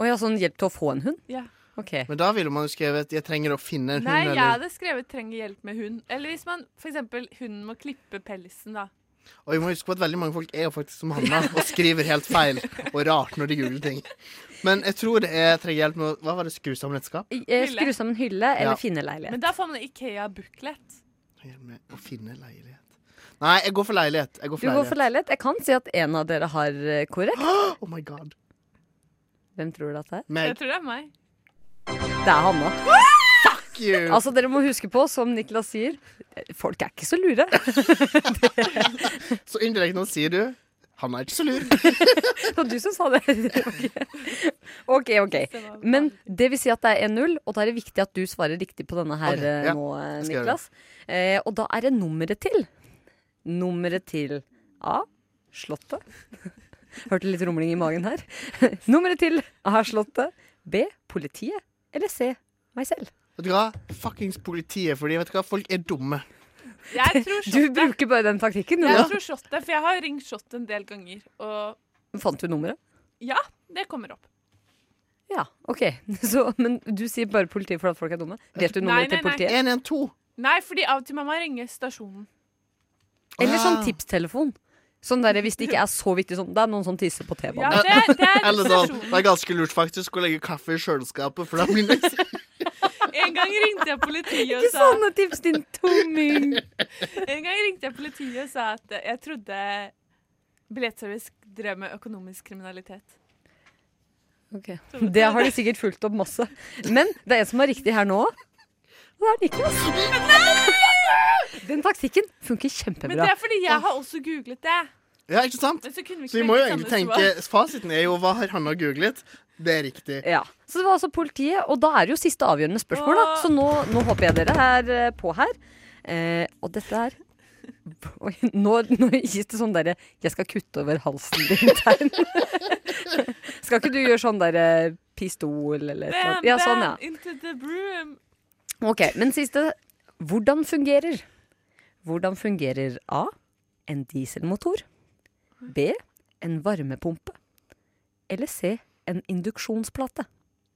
S13: Å ja, sånn hjelp til å få en hund?
S15: Ja.
S13: Ok.
S10: Men da ville man jo skrevet 'jeg trenger å finne en hund'.
S15: Nei, jeg
S10: eller
S15: hadde skrevet 'trenger hjelp med hund'. Eller hvis man f.eks. hunden må klippe pelsen, da.
S10: Og vi må huske på at veldig mange folk er jo faktisk som Hanna og skriver helt feil og rart når de googler ting. Men jeg tror det er 'trenger hjelp med å Hva var det? Skru sammen et skap?
S13: Eh, Skru sammen hylle eller
S10: Ja.
S13: finne leilighet.
S15: Men da får man Ikea-buklet.
S10: Med å finne leilighet Nei, jeg går for leilighet. Jeg går for
S13: Du går for leilighet.
S10: leilighet.
S13: Jeg kan si at en av dere har eh, korrekt.
S10: Oh my god.
S13: Hvem tror du at det er?
S15: Jeg tror det er meg.
S13: Det er Hanna.
S10: Fuck you!
S13: Altså, dere må huske på, som Niklas sier, folk er ikke så lure.
S10: Så indirekte nå sier du 'han er ikke så lur'.
S13: Det var du som sa det. Ok, ok. ok. Men det vil si at det er 1-0, og da er det viktig at du svarer riktig på denne her
S15: Ok,
S13: eh,
S15: ja.
S13: nå, eh,
S15: Jeg skal gjøre det.
S13: Niklas. Eh, og da er det nummeret til. Nummeret til A. Slottet. Hørte litt rumling i magen her. Nummeret til A. Slottet. B. Politiet. Eller C. Meg selv.
S10: Vet du hva? Fuckings politiet, fordi vet du hva? folk er dumme.
S15: Jeg tror
S13: Du bruker bare den taktikken, du,
S15: Jeg
S13: da.
S15: tror Shottet, for jeg har ringt Shot en del ganger. Og
S13: Fant du nummeret?
S15: ja, det kommer opp.
S13: Ja, OK. Så, men du sier bare politiet fordi folk er dumme. Vet du
S15: Nei,
S13: nummeret til
S15: nei, nei.
S13: politiet?
S10: 112.
S15: Nei, fordi av og til mamma ringer stasjonen.
S13: Eller sånn
S15: Ah.
S13: tipstelefon. Sånn der, Hvis det ikke er så viktig sånn. Det er noen som tisser på T-banen.
S15: Ja, det- det er
S10: Eller sånn. Det er ganske lurt faktisk å legge kaffe i kjøleskapet, for da blir det
S15: En gang ringte jeg politiet og
S10: Ikke
S15: sa
S10: sånne
S13: tips, din tomming!
S15: En gang ringte jeg politiet og sa at eh, jeg trodde Billettservice drev med økonomisk kriminalitet.
S13: Ok. Det har de sikkert fulgt opp masse. Men det er en som er riktig her nå. Det er Niklas. Den taktikken funker
S15: Men
S13: kjempebra.
S15: det er fordi jeg har også googlet det.
S10: Ja, ikke sant?
S15: Men så kunne vi
S10: Så vi
S15: ikke
S10: må jo
S15: velge
S10: egentlig
S15: samme
S10: tenke
S15: svar.
S10: Fasiten er jo hva har Hanna googlet? Det er riktig.
S13: Ja. Så det var altså politiet, og da er det jo siste avgjørende spørsmål, da. Så nå, nå håper jeg dere er eh, på her. Eh, og dette er Oi, nå, nå gis det sånn derre 'jeg skal kutte over halsen din'-tegn. skal ikke du gjøre sånn derre pistol eller et eller
S15: Bam,
S13: annet? Ja, sånn,
S15: bam,
S13: ja.
S15: into the broom.
S13: Ok, men siste. Hvordan fungerer? Hvordan fungerer A. En dieselmotor. B. En varmepumpe. Eller C. En induksjonsplate.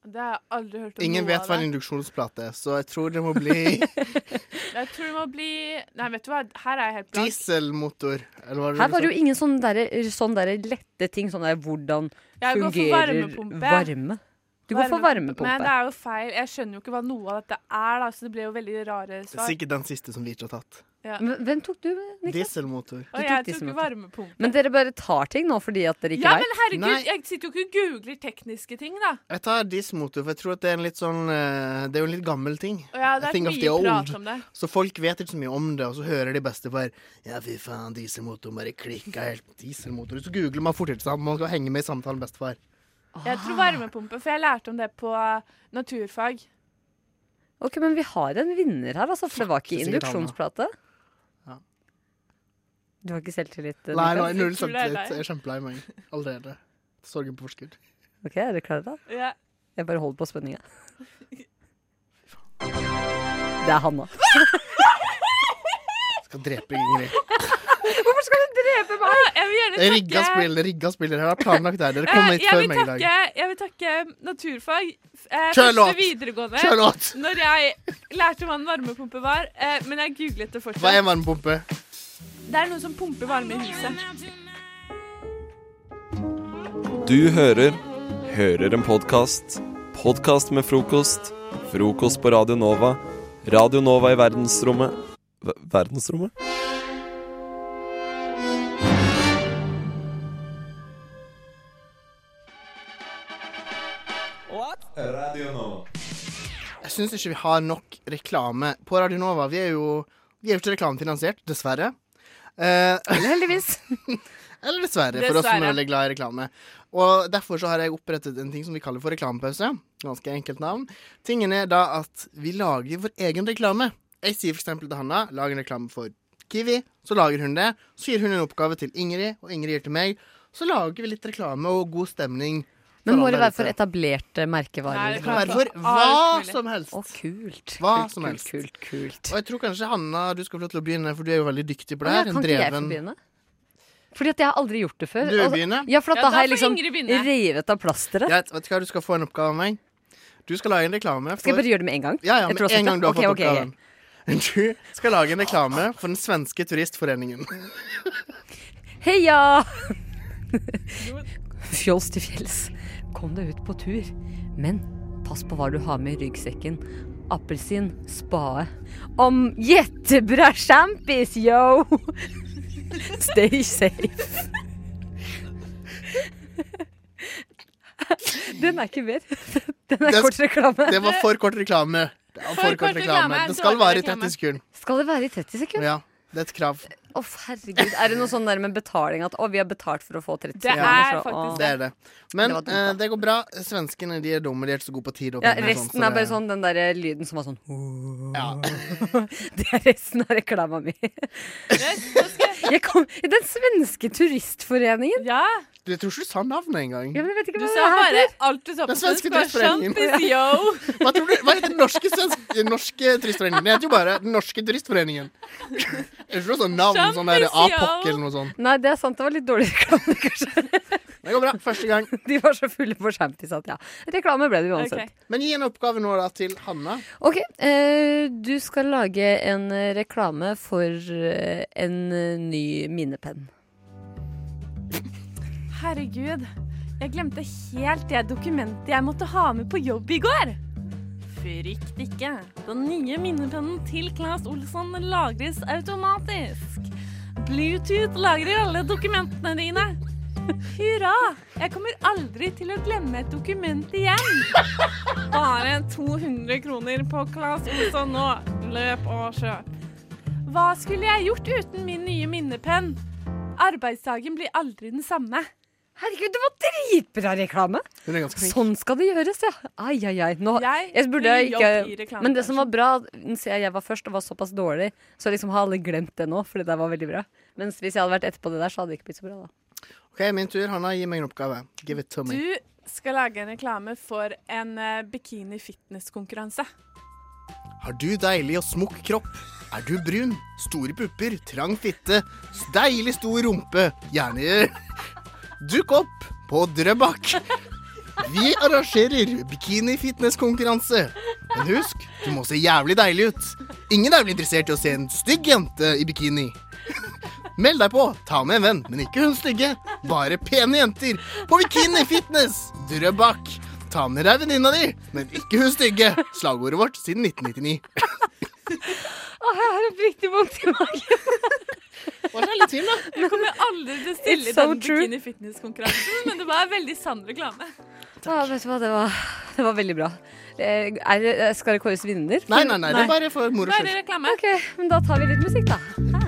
S15: Det har jeg aldri hørt om
S10: Ingen
S15: noe
S10: vet
S15: av
S10: hva en
S15: det.
S10: induksjonsplate er, så jeg tror det må bli
S15: Jeg tror det må bli Nei, vet du hva, her er jeg helt blank.
S10: dieselmotor. Eller hva det
S13: Her var det
S10: sa?
S13: jo ingen sånne, derre- sånne derre lette ting. Sånn der hvordan
S15: Jeg går for
S13: fungerer
S15: varmepumpe.
S13: varme. Du går for
S15: Men det
S13: varmepumpe.
S15: er jo feil. Jeg skjønner jo ikke hva noe av dette er, da, så det ble jo veldig rare
S10: Det er
S15: svar.
S10: sikkert den siste som vi ikke har tatt.
S15: Ja.
S13: Hvem tok du,
S10: Dieselmotor.
S15: Og jeg tok jo varmepumpe.
S13: Men dere bare tar ting nå fordi at dere ikke
S15: Ja,
S13: vet.
S15: men herregud,
S10: Nei.
S15: jeg sitter jo ikke og googler tekniske ting, da.
S10: Jeg tar dieselmotor, for jeg tror at det er en litt sånn eh, Det er jo en litt gammel ting.
S15: Å ja, det
S10: A
S15: er
S10: thing of
S15: mye
S10: the old.
S15: prat om det.
S10: Så folk vet ikke så mye om det, og så hører de bestefar Ja, fy faen, dieselmotor bare klikka helt. Dieselmotor. Så googler man fort, ikke sant? Man skal henge med i samtalen med bestefar.
S13: Ah.
S15: Jeg tror varmepumpe, for jeg lærte om det på uh, naturfag.
S13: Ok, Men vi har en vinner her, altså, for det var ikke
S10: det er sikkert han,
S13: induksjonsplate.
S10: Ja.
S13: Du har ikke selvtillit? eh,
S10: Nei,
S13: Niklas?
S10: nå er jeg null selvtillit. Jeg er kjempelei meg allerede. Sorgen på forskudd.
S13: Ok, Er dere klare, da?
S15: Ja.
S13: Jeg bare holder på spenninga. Det er Hanna.
S10: Skal drepe Ingrid.
S13: Hvorfor skal du drepe
S15: meg? Ah, Jeg vil gjerne takke
S10: Rigga spiller, rigga spiller. Jeg har planlagt det her. Dere kom
S15: Eh,
S10: hit
S15: jeg
S10: før
S15: vil
S10: meg i dag.
S15: takke, jeg vil takke naturfag. Eh,
S10: Kjør låt!
S15: første videregående.
S10: Kjør låt!
S15: Når jeg lærte hva en varmepumpe var, eh, men jeg googlet det fortsatt.
S10: Hva er en varmepumpe?
S15: Det er noe som pumper varme i huset.
S5: Du hører Hører en podkast. Podkast med frokost. Frokost på Radio Nova. Radio Nova i verdensrommet Ver- Verdensrommet? Radio Nova.
S10: Jeg syns ikke vi har nok reklame på Radio Nova. Vi er jo, vi er jo ikke reklamefinansiert, dessverre. Eller
S13: heldigvis.
S10: Eller dessverre, for oss som er
S13: Dessverre.
S10: veldig glad i reklame. Og Derfor så har jeg opprettet en ting som vi kaller for reklamepause. Ganske enkelt navn. Tingen er da at vi lager vår egen reklame. Jeg sier f.eks. til Hanna lag en reklame for Kiwi. Så lager hun det. Så gir hun en oppgave til Ingrid, og Ingrid gir til meg. Så lager vi litt reklame og god stemning. for
S13: Men må
S10: alle
S13: det være for
S10: dette.
S13: etablerte merkevarer?
S10: Nei, det kan
S13: eller?
S10: være for hva som helst.
S13: eh, Å, kult.
S10: Hva
S13: kult,
S10: som helst.
S13: Kult, kult, kult.
S10: Og jeg tror kanskje Hanna, du skal få lov til å begynne, for du er jo veldig dyktig på
S13: Å,
S10: det
S13: ja,
S10: her.
S13: kan
S10: En
S13: ikke jeg få
S10: dreven
S13: begynne? Fordi at jeg har aldri gjort det før.
S10: Du
S13: Altså,
S10: begynner?
S13: Ja, for at
S10: Ja,
S13: da
S10: da
S13: har jeg
S10: får
S13: liksom
S10: Ingrid begynne.
S13: revet av plasteret.
S10: Greit, vet du hva, du skal få en oppgave av meg. Du skal lage en reklame for
S13: Skal jeg bare gjøre det med en gang?
S10: Ja, ja,
S13: Jeg
S10: med
S13: tror også
S10: en gang du har
S13: det. Ok,
S10: fått
S13: ok,
S10: oppgaven. Du skal lage en reklame for den svenske turistforeningen.
S13: Heia! Fjols til fjells. Kom deg ut på tur. Men pass på hva du har med i ryggsekken. Appelsin, spade. Om jettebra sjampis, yo! Stay safe. Den er ikke mer. Den er kort reklame.
S10: Det var for kort reklame. Det var for kort reklame. Det skal vare i 30 sekunder.
S13: Skal det være i 30 sekunder?
S10: Ja, det er et krav.
S13: Å, herregud. Er det noe sånn der med betaling at å, vi har betalt for å få 30 sekunder?
S10: Ja.
S13: så, å.
S10: det. er det. Men
S13: Det
S10: eh,
S13: var dumt,
S10: det, går bra. Svenskene de er dumme, de er ikke så gode på tid. og
S13: Ja,
S10: penger og sånt,
S13: resten
S10: så
S13: er bare
S10: det-
S13: sånn den derre lyden som var sånn Det er resten av reklama mi. Jeg kom, den svenske turistforeningen.
S15: Ja.
S10: Du tror ikke du sa navnet engang.
S13: men jeg vet ikke
S15: Du
S13: hva
S15: sa
S13: det
S15: bare
S13: heter.
S15: alt du sa på
S10: Den svenske
S15: svensk var
S10: turistforeningen.
S15: sjampis, yo.
S10: Hva, tror du, hva heter den norske, svensk- den norske turistforeningen? Den heter jo bare Den norske turistforeningen. Er det ikke noe sånt navn? Sånn der
S13: Champions,
S10: Apok
S13: ja.
S10: eller noe sånt.
S13: Nei, det er sant. Det var litt dårlig reklame, kanskje.
S10: Det går bra. Første gang.
S13: De var så fulle på shampies at ja. Reklame ble det uansett.
S10: Men gi en oppgave nå da til Hanna.
S13: Ok, eh, du skal lage en eh, reklame for eh, en eh, ny minnepenn.
S15: Herregud, jeg glemte helt det dokumentet jeg måtte ha med på jobb i går. Frykt ikke. Den nye minnepennen til Claes Olsson lagres automatisk. Bluetooth lagrer alle dokumentene dine. Hurra! Jeg kommer aldri til å glemme et dokument igjen. Bare 200 kroner på Claes Olsson nå. Løp og kjøp. Hva skulle jeg gjort uten min nye minnepenn? Arbeidsdagen blir aldri den samme.
S13: Herregud, det var dritbra reklame!
S10: Hun er ganske flink.
S13: Sånn skal det gjøres, ja. Ai, ai, ai. Nå, jeg, burde
S15: vil jobbe i
S13: ikke
S15: reklamebransjen.
S13: Men det som var bra, siden jeg var først og var såpass dårlig, så liksom har alle glemt det nå, fordi det var veldig bra. Mens hvis jeg hadde vært etterpå det der, så hadde det ikke blitt så bra, da.
S10: OK, min tur. Hanna, gi meg en oppgave. Give it to me.
S15: Du skal lage en reklame for en eh, bikini fitness-konkurranse.
S10: Har du deilig og smukk kropp? Er du brun? Store pupper? Trang fitte? s- Deilig stor rumpe? Gjerne Dukk opp på Drøbak! Vi arrangerer bikini-fitness-konkurranse. Men husk, du må se jævlig deilig ut. Ingen er vel interessert i å se en stygg jente i bikini. Meld deg på. Ta med en venn, men ikke hun stygge. Bare pene jenter på Bikini Fitness Drøbak. Ta med deg venninna di, men ikke hun stygge. Slagordet vårt siden 1999.
S13: Å, jeg har oppriktig vondt i magen.
S10: Hva er litt til, da?
S15: Jeg kommer aldri til å stille i
S13: It's so
S15: den
S13: true.
S15: bikini fitness-konkurransen, men det var veldig sann reklame.
S13: Å, vet du hva, det var, det var veldig bra. Eh, Er, det- skal det kåres vinner?
S10: Nei, nei, nei, det er bare for moro
S13: Bare
S10: skyld.
S15: reklame.
S13: Ok, men da tar vi litt musikk, da.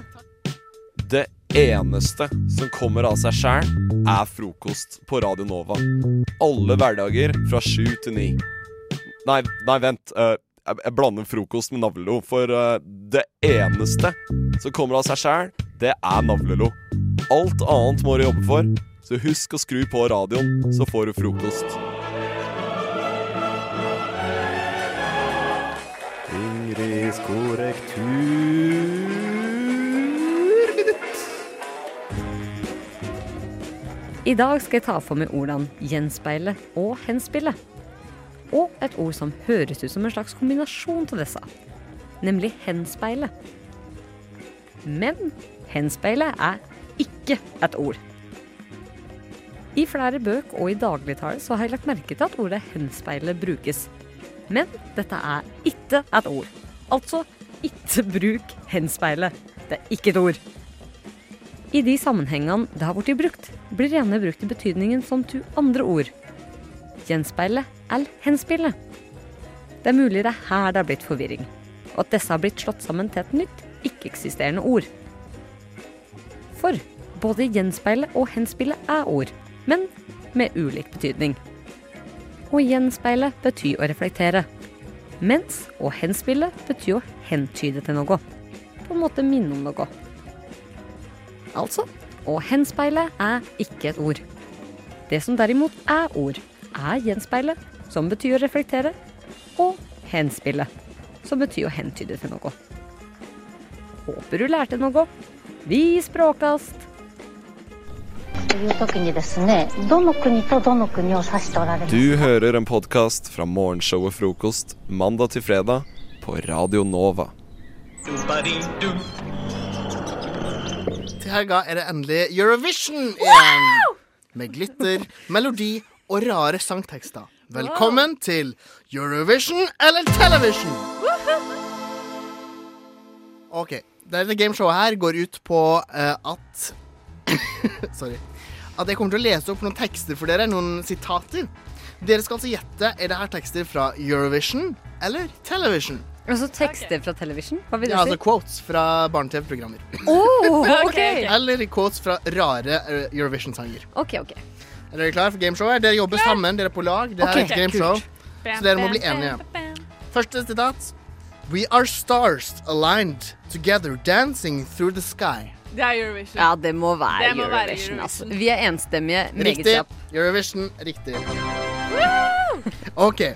S5: Det eneste som kommer av seg sjæl, er frokost på Radio Nova. Alle hverdager fra sju til ni. Nei, nei, vent. eh, jeg, jeg blander frokost med navlelo, for eh, det eneste som kommer av seg sjæl, det er navlelo. Alt annet må du jobbe for, så husk å skru på radioen, så får du frokost.
S16: Ingrids korrekturminutt.
S13: I dag skal jeg ta for meg ordene gjenspeile og henspille. Og et ord som høres ut som en slags kombinasjon til disse, nemlig henspeile. Men henspeile er ikke et ord. I flere bøk og i dagligtale så har jeg lagt merke til at ordet henspeile brukes. Men dette er ikke et ord. Altså ikke bruk henspeile. Det er ikke et ord. I de sammenhengene det har blitt brukt, blir det gjerne brukt i betydningen som to andre ord. Gjenspeile eller henspille. Det er mulig det er her det har blitt forvirring, og at disse har blitt slått sammen til et nytt, ikke-eksisterende ord. For både gjenspeile og henspille er ord, men med ulik betydning. Å gjenspeile betyr å reflektere, mens å henspille betyr å hentyde til noe. På en måte minne om noe. Altså, å henspeile er ikke et ord. Det som derimot er ord, er gjenspeile, som betyr å reflektere, og henspille, som betyr å hentyde til noe. Håper du lærte noe. Vi språkkast!
S6: という時にですねどの国とどの国を指しておられます
S5: Du hører en podkast fra morgenshowet Frokost mandag til fredag på Radio Nova.
S10: Til helga er det endelig Eurovision igjen. Med glitter, melodi og rare sangtekster. Velkommen til Eurovision eller Television. OK. Dette gameshowet her går ut på eh, at Sorry. At jeg kommer til å lese opp noen tekster for dere, noen sitater. Dere skal altså gjette er det her tekster fra Eurovision eller Television.
S13: Altså tekster fra television? Hva vil det
S10: Ja, altså
S13: si?
S10: quotes fra barne-TV-programmer.
S13: Oh, ok.
S10: Eller quotes fra rare eh, Eurovision-sanger.
S13: Ok, ok.
S10: Er dere klare for gameshowet? Dere jobber sammen, dere er på lag. Det er
S13: Ok,
S10: et gameshow,
S13: kult.
S10: så dere må bli enige. Første sitat. We are stars aligned together dancing through the sky.
S15: Det er Eurovision.
S13: Ja, det må være
S15: Det må være
S13: Eurovision, altså.
S15: Eurovision.
S13: Vi er enstemmige. Meget
S10: Riktig.
S13: kjapp.
S10: Eurovision, riktig. OK.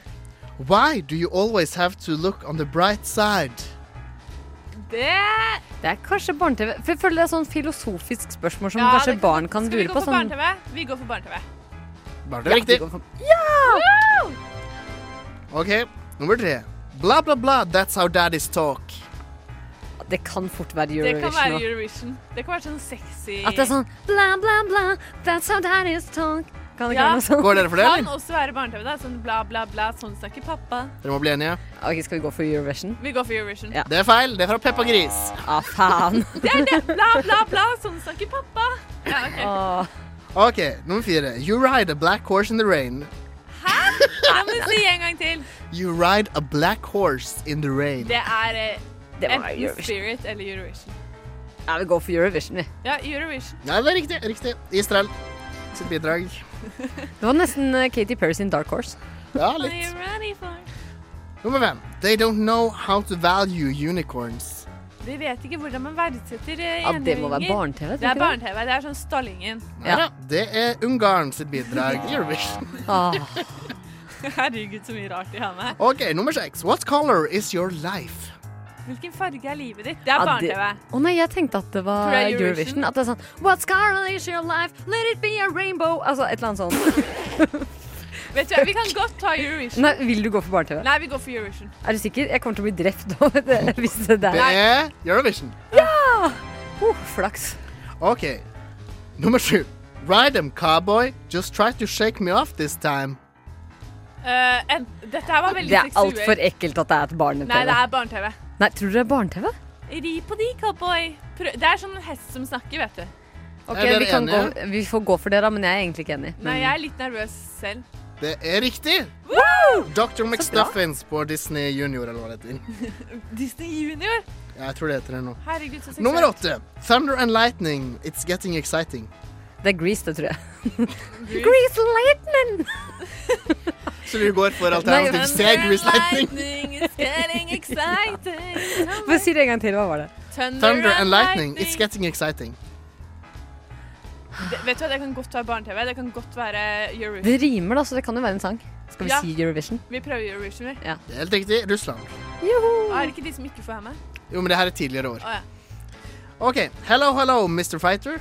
S10: Why do you always have to look on the bright side?
S15: Det
S13: Det er kanskje barne-TV. For jeg føler det er sånn filosofisk spørsmål som
S15: Ja,
S13: kanskje
S15: det-
S13: barn kan
S15: Skal vi
S13: lure
S15: gå
S13: på.
S15: for
S13: Sånn,
S15: barne-TV? Vi går for barne-TV.
S10: Var
S13: Ja,
S10: det riktig?
S13: det går
S15: Ja!
S10: OK, nummer tre. Bla, bla, bla, that's how daddies talk.
S13: Det kan fort være
S15: Det kan
S13: Eurovision
S15: være
S13: nå.
S15: Eurovision. Det kan være sånn sexy
S13: At det er sånn bla, bla, bla, that's how that is talk. Kan det ikke være noe sånn? sånt?
S15: Kan også være barne-TV. da, Sånn bla, bla, bla, sånn snakker pappa.
S10: Dere må bli enige.
S13: Ok, Skal vi gå for Eurovision?
S15: Vi går for Eurovision.
S10: Det er feil. Det er fra Peppa Gris.
S13: Ah, faen.
S15: Det er det! Bla, bla, bla, sånn snakker pappa. Ja, ok.
S10: OK, nummer fire. You ride a black horse in the rain.
S15: Hæ? Da må du si en gang til.
S10: You ride a black horse in the rain.
S15: Det er eh,
S10: Det var
S15: enten
S10: Eurovision.
S15: Spirit eller Eurovision.
S13: Ja, vi går for Eurovision, vi.
S15: Ja, Eurovision.
S10: Nei, det er riktig. riktig. Israel sitt bidrag.
S13: Det var nesten eh, Katy Perry sin Dark Horse.
S10: Ja,
S15: Are
S10: litt.
S15: you ready for
S10: Nummer fem. They don't know how to value unicorns.
S15: De vet ikke hvordan man verdsetter eh,
S10: Ja, det må være
S15: enhjørninger.
S10: barne-TV, tror
S15: Det er
S10: ikke det?
S15: barne-TV. Det er sånn Stallingen.
S10: Neida, Det er Ungarn sitt bidrag i Eurovision.
S13: Ah.
S15: Herregud, så mye rart de har med.
S10: OK, nummer seks. What color is your life?
S15: Hvilken farge er livet ditt? Det er
S13: Ja, det-
S15: barne-TV.
S13: Å nei, jeg tenkte at det var
S15: Tror jeg
S13: Eurovision.
S15: Eurovision?
S13: At det er sånn What's color is your life? Let it be a rainbow. Altså et eller annet sånt.
S15: Vet du hva, Vi kan godt ta Eurovision.
S13: Nei, vil du gå for barne-TV?
S15: Nei, vi går for Eurovision.
S13: Er du sikker? Jeg kommer til å bli drept av det, hvis det der
S10: Det er Eurovision.
S13: Ja! Oh, flaks.
S10: OK. Nummer sju. Ride 'em, cowboy. Just try to shake me off this time.
S15: Eh, en, dette her var veldig
S13: Det er
S15: seksuelt.
S13: altfor ekkelt at det er et barne-TV.
S15: Nei, det er barne-TV.
S13: Nei, tror du det er barne-TV?
S15: Ri på de, cowboy. Prøv. Det er sånn en hest som snakker, vet du.
S13: Ok, vi, kan gå, vi får gå for det, da, men jeg er egentlig ikke enig.
S15: Nei, jeg er litt nervøs selv.
S10: Det er riktig. Dr. McStuffins på Disney Junior, eller hva det heter.
S15: Disney Junior.
S10: Ja, jeg tror det heter det nå.
S15: Herregud, så seksuelt.
S10: Nummer åtte. Thunder and lightning. It's getting exciting.
S13: Det er Grease, det tror jeg.
S10: Grease lightning! Så du går for
S13: Nei,
S10: alternativ
S13: men-
S10: C, Grease lightning?
S15: It's getting exciting.
S13: Men si det en gang til. Hva var det?
S15: Thunder,
S10: Thunder and lightning. It's getting exciting.
S15: Det, vet du hva, det kan godt være barne-TV. Det kan godt være Eurovision.
S13: Det rimer, da, så det kan jo være en sang. Skal vi
S15: Ja.
S13: si Eurovision?
S15: Vi prøver Eurovision, vi.
S13: Ja.
S10: Det er Helt riktig. Russland.
S15: Ah, er det ikke de som ikke får være med?
S10: Jo, men det her er tidligere år.
S15: Å ja.
S10: OK. Hello, hello, Mr. Fighter.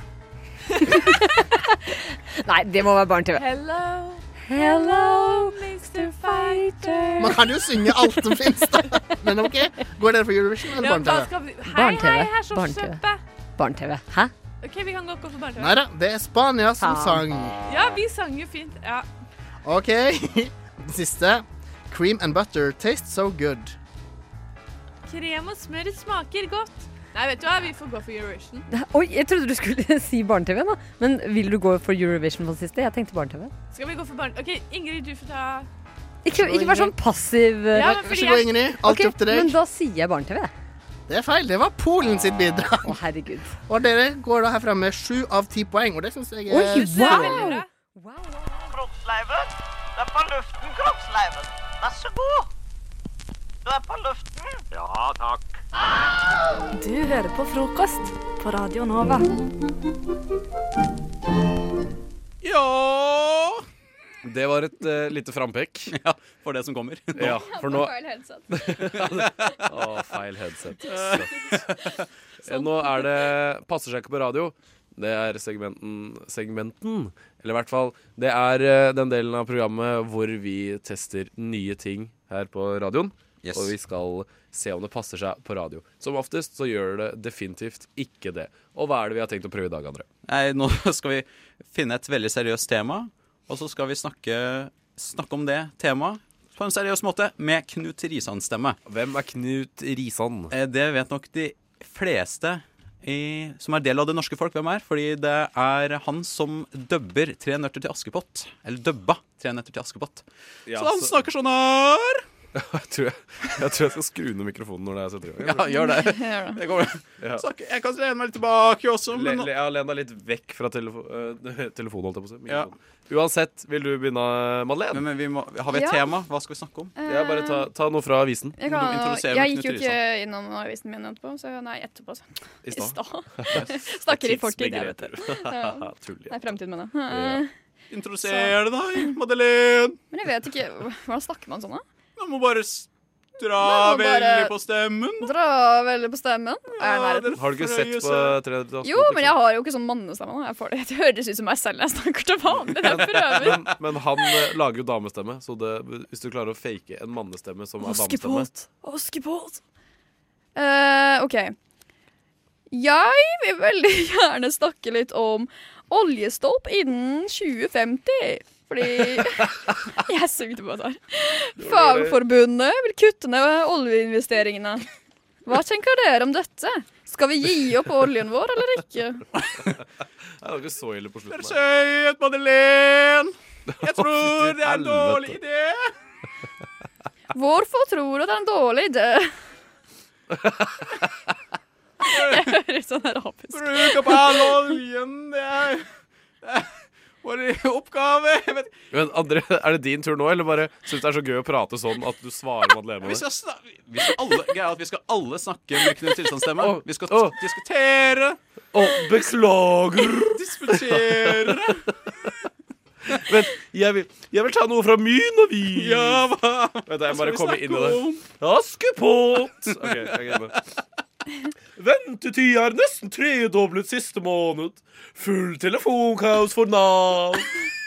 S13: Nei, det må være barne-TV.
S15: Hello,
S13: hello,
S15: Mr. Fighter.
S10: Man kan jo synge alt som finnes, da. Men OK. Går dere for Eurovision eller
S15: Ja, hva
S10: barne-TV?
S15: skal vi... Hei, hei, her så
S10: Barne-TV.
S15: søppe.
S13: Barne-TV. Hæ?
S15: Ok, vi kan godt gå for barne-TV.
S10: Nei da, det er Spania som
S13: Faen.
S10: sang.
S15: Ja, vi sang jo fint. Ja.
S10: OK. Den Siste. Cream and butter tastes so good.
S15: Krem og smør smaker godt. Nei, vet du hva, vi får gå for Eurovision.
S13: Oi, jeg trodde du skulle si barne-TV, da. Men vil du gå for Eurovision på det siste? Jeg tenkte barne-TV.
S15: Skal vi gå for barne... Ok, Ingrid, du får ta...
S13: Ikke, ikke vær sånn passiv.
S15: Ja, men fordi Vær så god, jeg- Ingrid. Alt
S13: Ok,
S10: opp til deg.
S13: Men da sier jeg barne-TV. jeg.
S10: Det er feil. Det var Polen sitt bidrag.
S13: Å, herregud.
S10: Og dere går da herfra med sju av ti poeng, og det syns jeg er
S13: Oi, wow!
S7: Kroppsleiven. Du er på luften, kroppsleiven. Vær så god. Du er på luften. Ja, takk.
S9: Du hører på frokost på Radio Nova.
S17: Ja
S18: Det var et eh, lite frampekk.
S17: Ja, for det som kommer.
S18: Ja, for nå Å, feil headset. Søtt. Eh, Nå er det Passer seg ikke på radio. Det er segmenten Segmenten, eller i hvert fall Det er eh, den delen av programmet hvor vi tester nye ting her på radioen.
S17: Yes.
S18: Og vi skal se om det passer seg på radio. Som oftest så gjør det definitivt ikke det. Og hva er det vi har tenkt å prøve i dag, André?
S17: Nei, nå skal vi finne et veldig seriøst tema, og så skal vi snakke, snakke om det temaet på en seriøs måte med Knut Risan-stemme.
S18: Hvem er Knut Risan?
S17: Det vet nok de fleste i, som er del av det norske folk, hvem er. Fordi det er han som dubber Tre nøtter til Askepott. Eller dubba Tre nøtter til Askepott.
S18: Ja,
S17: så han
S18: så-
S17: snakker sånn her.
S18: Jeg tror jeg, jeg tror jeg skal skru ned mikrofonen når det er setter i gang.
S17: Ja, gjør det.
S18: Gjør det.
S17: Det går bra.
S18: Ja.
S17: Så jeg kan lene meg litt tilbake også.
S18: Le,
S17: Men nå,
S18: le, ja, len deg litt vekk fra telefo eh, telefonen, holdt jeg på å si.
S17: Ja.
S18: Mikrofonen. Uansett, vil du begynne, Madeleine?
S17: Men vi må, har vi et
S16: Ja.
S17: tema? Hva skal vi snakke om?
S18: Ja, bare ta, ta noe fra avisen.
S16: Jeg, kan, jeg gikk jo ikke innom avisen min etterpå, så nei, etterpå. Så.
S18: I stad.
S16: Snakker i fortid, jeg vet det. Ja.
S18: Tidsbegrepet. Tull, ja.
S16: Nei, fremtid, mener
S18: Ja.
S16: jeg.
S17: Introduser deg, Madeleine.
S16: Men jeg vet ikke, hvordan snakker man sånn da?
S17: Du må bare s- dra
S16: Man må bare-
S17: veldig på stemmen.
S16: Dra veldig på stemmen. Er jeg i nærheten?
S18: Har du ikke sett
S17: Frøye
S18: på
S17: seg.
S18: Tre nøtter til Askepott?
S16: Jo, men jeg har jo ikke sånn mannestemme. da. Jeg får det. Det høres ut som meg selv når jeg snakker til vanlig. når Jeg prøver.
S18: Men, men han eh, lager jo damestemme, så det, hvis du klarer å fake en mannestemme som er damestemme
S16: Askepott. Askepott. Eh, OK. Jeg vil veldig gjerne snakke litt om oljestopp innen 2050. Fordi Jeg sugde på det her. Fagforbundet vil kutte ned oljeinvesteringene. Hva tenker dere om dette? Skal vi gi opp oljen vår eller ikke?
S18: Det var ikke så ille på slutten. her.
S17: Skøyt, Madeleine. Jeg tror det er en
S18: Helvete.
S17: dårlig idé.
S16: Hvorfor tror du det er en dårlig idé? Jeg høres sånn arabisk
S17: Bruk opp all oljen. Det er, det er vår oppgave. Jeg vet-
S18: Men André, er det din tur nå, eller bare syns du det er så gøy å prate sånn at du svarer Madeleine?
S17: Vi
S18: med
S17: skal,
S18: det?
S17: snak vi skal alle, greia er at vi skal alle snakke med Knut Tilstandsstemme.
S18: Åh,
S17: Vi skal t- diskutere.
S18: Å, beklager!
S17: Diskutere.
S18: Vent, jeg vil, jeg vil ta noe fra min avis. Ja, hva? Vent, jeg må
S17: skal
S18: bare
S17: vi
S18: komme
S17: snakke
S18: inn i det.
S17: om?
S18: Askepott! Ok, jeg bare. Ventetida er nesten tredoblet siste måned. Full telefonkaos for Nav.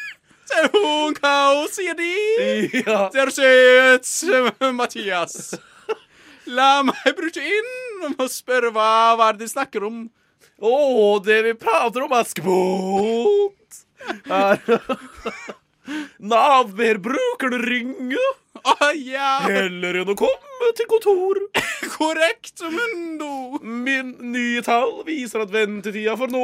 S17: Telefonkaos, sier de.
S18: Ja.
S17: Der sitter Mathias. La meg bryte inn og spørre hva, hva er det de snakker om.
S18: Å, det vi prater om, Askepott, er Nav ber brukerne ringe Ah,
S17: ja.
S18: heller enn å komme til kontoret.
S17: Korrekt, mundo.
S18: Min nye tall viser at ventetida for nå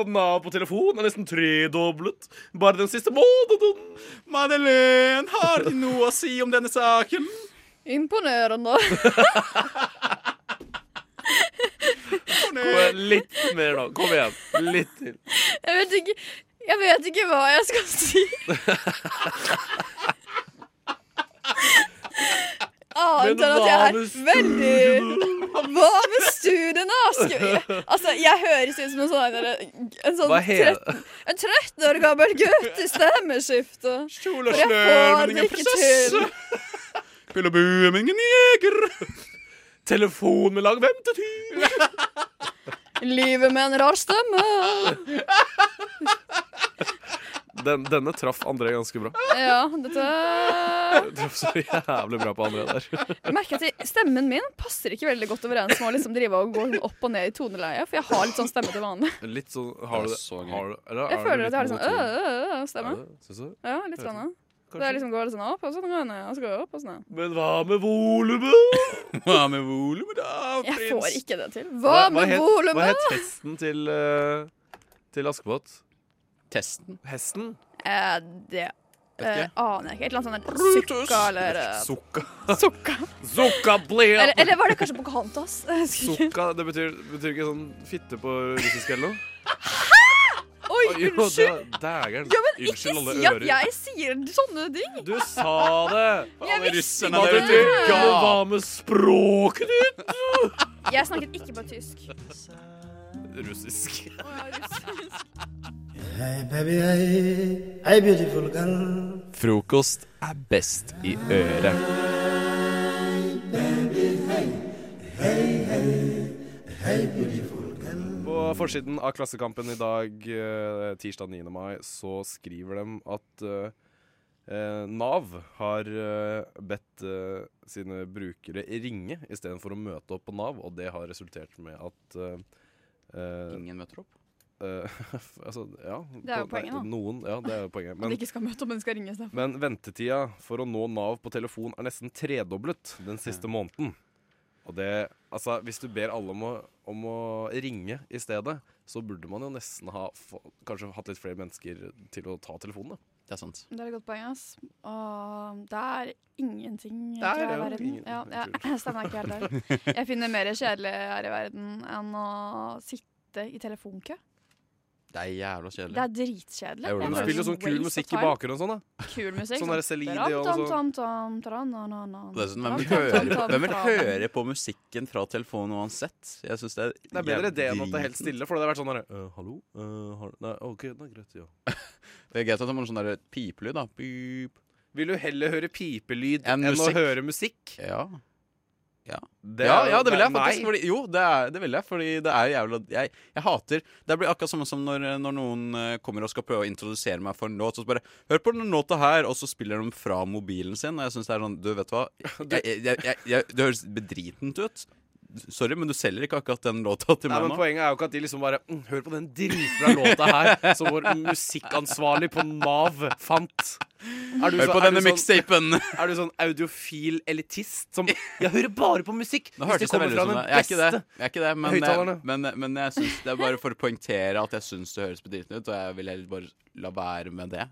S18: av Nav på telefon er nesten tredoblet bare den siste måneden.
S17: Madeleine, har De noe å si om denne saken?
S19: Imponerende.
S18: Litt mer, da. Kom igjen. Litt til.
S19: Jeg vet ikke Jeg vet ikke hva jeg skal si. Annet
S11: Men
S19: enn at jeg er
S11: hva med
S19: veldig Hva med studiene? Aske? Altså, jeg høres ut som en sånn, en sånn
S18: Hva he-
S19: 13, en 13 år gammel gutt i stemmeskifte.
S17: Kjole
S19: For jeg får det ikke til.
S17: Pille buemingen jeger.
S18: Telefon med lang ventetid.
S19: Livet med en rar stemme.
S18: Den, denne traff André ganske bra.
S16: Ja, dette
S18: Traff så jævlig bra på André der.
S16: Jeg merker at jeg- stemmen min passer ikke veldig godt overens med å liksom drive og gå sånn opp og ned i toneleiet, for jeg har litt sånn stemme til vanlig.
S18: Litt sånn Har du det? Har du, eller,
S16: Jeg
S18: er
S16: føler
S18: det
S16: at jeg har litt sånn
S18: monoton?
S16: øh, øh, øh, stemme.
S18: Er det? Syns du?
S16: Ja, litt sånn. ja. Så jeg liksom går litt sånn opp, og så går jeg ned, og så går jeg opp, og så ned.
S18: Men hva med volumet?
S17: hva med volumet, da?
S16: Jeg får ikke det til.
S18: Ah, Hva- hva het- Hva het testen til, eh, til Askepott?
S17: Testen?
S18: Hesten?
S16: Eh, det
S18: Vet
S16: eh,
S18: ikke.
S16: aner jeg ikke. Et eller annet sånn der sukka eller eh,
S18: Sukka. Sukka. Sukka ble
S16: eller, eller var det kanskje Pocahontas? Jeg husker ikke.
S18: Sukka, det betyr, betyr ikke sånn fitte på russisk eller noe?
S16: Oi,
S18: Å, jo, det-
S16: unnskyld!
S18: Dægeren.
S16: Ja, men
S18: Unnskyld,
S16: ikke
S18: alle
S16: si at
S18: ører.
S16: jeg sier sånne ting!
S18: Du sa det!
S16: Jeg
S18: Alle
S16: visste
S18: russerne der
S16: ikke.
S18: ute. Ja, men Hva med språket ditt?
S16: Jeg snakket ikke på tysk.
S18: Russisk.
S20: Hey baby, hey, hey beautiful girl.
S5: Frokost er best i øret.
S18: På forsiden av Klassekampen i dag, eh, tirsdag 9. mai, så skriver de at eh, eh, Nav har eh, bedt eh, sine brukere ringe istedenfor å møte opp på Nav, og det har resultert med at eh,
S17: Ingen møter opp?
S18: altså, ja.
S16: Det er jo
S18: Nei,
S16: poenget, da.
S18: Noen, ja, det er jo poenget.
S16: At de ikke skal møte opp, men skal ringe istedenfor.
S18: Men ventetida for å nå Nav på telefon er nesten tredoblet den siste måneden. Og det, altså, hvis du ber alle om å, om å ringe i stedet, så burde man jo nesten ha få, kanskje hatt litt flere mennesker til å ta telefonen. Da.
S17: Det er sant.
S16: Det er et godt poeng, ass. Og det er ingenting
S11: Det er
S16: tror jeg, i
S11: jo
S16: verden.
S11: ingen-
S16: Ja, ja, stemmer ikke helt der. Jeg finner mer kjedelig her i verden enn å sitte i telefonkø.
S17: Det er jævla
S16: Det
S17: kjedelig.
S16: er dritkjedelig.
S17: Jeg gjorde
S16: Jeg
S17: det.
S16: føler
S17: Spiller
S16: det er
S17: sånn kul
S16: waste
S17: musikk i
S16: of time.
S17: bakgrunnen og sånn, da.
S16: Kul musikk.
S18: Sånn der Celine Dion og
S16: Tam,
S18: sånn.
S16: tam, tam, tam, tam, tam, tam,
S17: Det er sånn, hvem, vil
S16: tam, tam,
S17: høre,
S16: tam,
S17: hvem vil
S16: tam.
S17: høre på musikken fra telefonen uansett? Jeg synes det er
S18: Det er bedre
S17: jævlig
S18: det enn at det er helt
S17: dritent.
S18: stille, for det hadde vært sånn derre «Øh, Hallo? Øh, har, nei, OK, det er greit, ja.
S17: Det er greit at det er sånn der pipelyd, da. Pip.
S18: Vil du heller høre pipelyd enn, å
S17: musikk.
S18: høre musikk?
S17: Ja. Ja.
S18: sånn, Det
S17: ja,
S18: er-
S17: ja, det vil jeg
S18: nei,
S17: faktisk.
S18: nei.
S17: Fordi, jo, det, er, det vil jeg, fordi det er jævla Jeg, jeg hater Det blir akkurat samme som når, når noen eh, kommer og skal prøve å introdusere meg for en låt, så bare 'Hør på den låta her', og så spiller de fra mobilen sin. Og jeg synes det er sånn Du, vet du hva? Jeg, jeg, jeg, jeg, jeg, det høres bedritent ut. Sorry, men du selger ikke akkurat den låta til
S18: Nei,
S17: meg
S18: men
S17: nå.
S18: Poenget er jo ikke at de liksom bare mm, Hør på den dritbra låta her som vår musikkansvarlig på Nav fant. Er du
S17: Hør på
S18: så- er du sånn-
S17: denne mixtapen.
S18: Er du sånn audiofil elitist som Jeg hører bare på musikk!
S17: Nå
S18: hvis
S17: hørtes det
S18: kommer
S17: veldig
S18: fra
S17: ut som
S18: den
S17: det. Jeg er ikke det,
S18: beste
S17: jeg er ikke det men, eh, jeg,
S18: høyttalerne.
S17: men, men jeg synes, det er bare for å poengtere at jeg syns det høres bedritende ut, og jeg vil heller bare la være med det.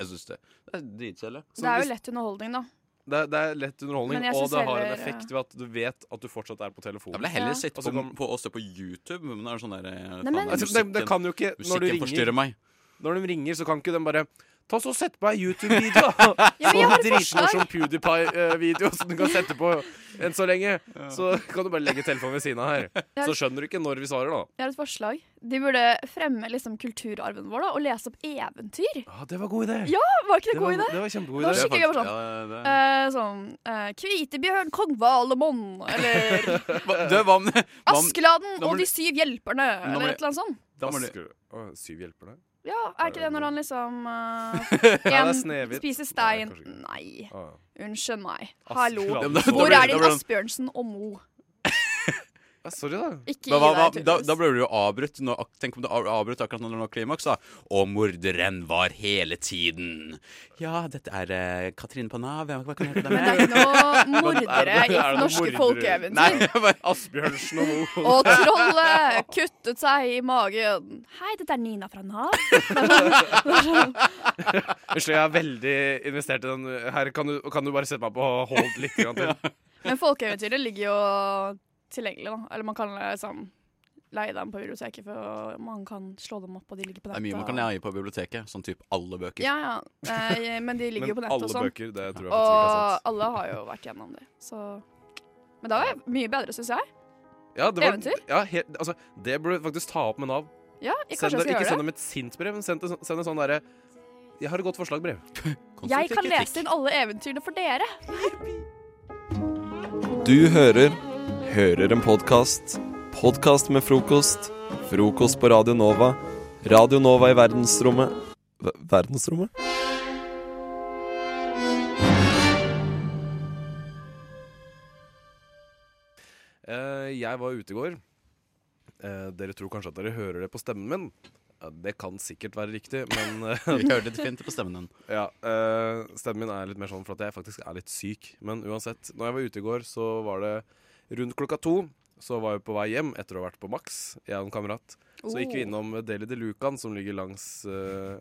S17: Jeg synes det. Det er dritkjedelig.
S16: Det er jo lett underholdning, da.
S18: Det, er- det er lett
S16: Men
S18: underholdning,
S16: jeg
S18: og
S16: synes
S18: det har en
S16: heller,
S18: effekt ved at du vet at du fortsatt er på telefonen.
S17: Da vil jeg heller
S18: Og
S17: sitte
S18: så
S17: på,
S18: kan-
S17: på og se på YouTube. Men det er sånn der, eh,
S18: Nei,
S17: faen,
S18: men-
S17: det er
S18: Altså, det- det
S17: musikken-
S18: kan jo ikke- når du
S17: Musikken
S18: ringer-
S17: forstyrrer meg.
S18: Når de ringer, så kan ikke de bare Ta så Sett på ei YouTube-video, da!
S17: Ja, men jeg
S18: Sånn
S17: har et forslag.
S18: dritmorsom PewDiePie-video som du kan sette på enn så lenge. Så kan du bare legge telefonen ved siden av her.
S16: Ja.
S18: Så skjønner du ikke når vi svarer, da.
S16: Jeg har et forslag. De burde fremme liksom, kulturarven vår da, og lese opp eventyr.
S18: Ja, det var god idé.
S16: Ja, var ikke det,
S18: Det
S16: god
S18: var-
S16: idé?
S18: det var kjempegod
S16: Det var
S18: idé.
S16: skikkelig gøy. Sånn,
S18: Ja, det-
S16: eh, sånn eh, Kvitebjørn, kong Valemon, eller
S17: Hva- Du, hva om hva om-
S16: Eh, Askeladden
S17: Nå må
S16: og
S17: du-
S16: de syv hjelperne,
S17: må du-
S16: eller et eller annet sånt.
S17: Da må du-
S18: Asker- Å, Syv hjelper deg?
S16: Ja, er ikke det når han liksom eh,
S18: det er
S16: en
S18: Snehvit.
S16: spiser
S18: Nei,
S16: stein Nei.
S18: Ah.
S16: Unnskyld meg.
S18: Askeladden.
S16: Hallo.
S18: Ja, men da- da
S16: Hvor
S18: blir- da
S16: er din
S18: blir han-
S16: Asbjørnsen og Mo?
S18: Ja, sorry, da.
S16: Ikke
S17: Men hva, hva,
S16: gi deg,
S17: da, da ble du jo avbrutt. Nå, ak- tenk om du av- avbrøt akkurat når det var klimaks, da. Og morderen var hele tiden. Ja, dette er eh, Katrine Panav. Hva hva kan jeg hjelpe deg med?
S16: Nå
S17: Er
S16: mordere
S17: det-
S16: i
S17: er det noen
S16: norske
S17: mordere?
S16: folkeeventyr.
S17: Nei, bare-
S18: Asbjørnsen og Mo.
S16: Og trollet kuttet seg i magen. Hei, dette er Nina fra Nav.
S18: Unnskyld, jeg er veldig investert i den. Her kan du, kan du bare sette meg på hold litt grann til.
S16: Men folkeeventyret ligger jo tilgjengelig, da. Eller man kan liksom leie dem på biblioteket, for man kan slå dem opp, og de ligger på
S17: Det
S16: nettet.
S17: er mye man kan leie på biblioteket. Sånn type alle bøker.
S16: Ja, ja. Eh, men de ligger jo på
S17: Men
S16: nettet og
S17: alle
S16: sånn.
S17: bøker, det tror jeg faktisk ikke er sant.
S16: og alle har jo vært gjennom det, så Men det var jo mye bedre, syns jeg.
S18: Ja, det var,
S16: Eventyr?
S18: Ja, helt, altså, det burde du faktisk ta opp med Nav.
S16: Ja,
S18: Send
S16: jeg,
S18: dem-
S16: kanskje jeg skal
S18: ikke
S16: gjøre
S18: send
S16: det.
S18: dem et sint brev, men send, det så- send et sånn derre Jeg har et godt forslag-brev.
S16: Jeg kan lese inn alle eventyrene for dere.
S5: Du hører Hører en podkast. Podkast med frokost. Frokost på Radio Nova. Radio Nova i verdensrommet Ver- Verdensrommet?
S18: Eh, jeg var ute i går. Eh, dere tror kanskje at dere hører det på stemmen min. Ja, det kan sikkert være riktig, men eh,
S17: Vi hører det definitivt på stemmen din.
S18: Ja, eh, stemmen min er litt mer sånn for at jeg faktisk er litt syk. Men uansett, når jeg var ute i går, så var det rundt klokka to. Så var jeg på vei hjem etter å ha vært på Max, jeg og en kamerat. Så gikk vi
S17: Oh.
S18: innom Deli de Lucan, som ligger langs eh,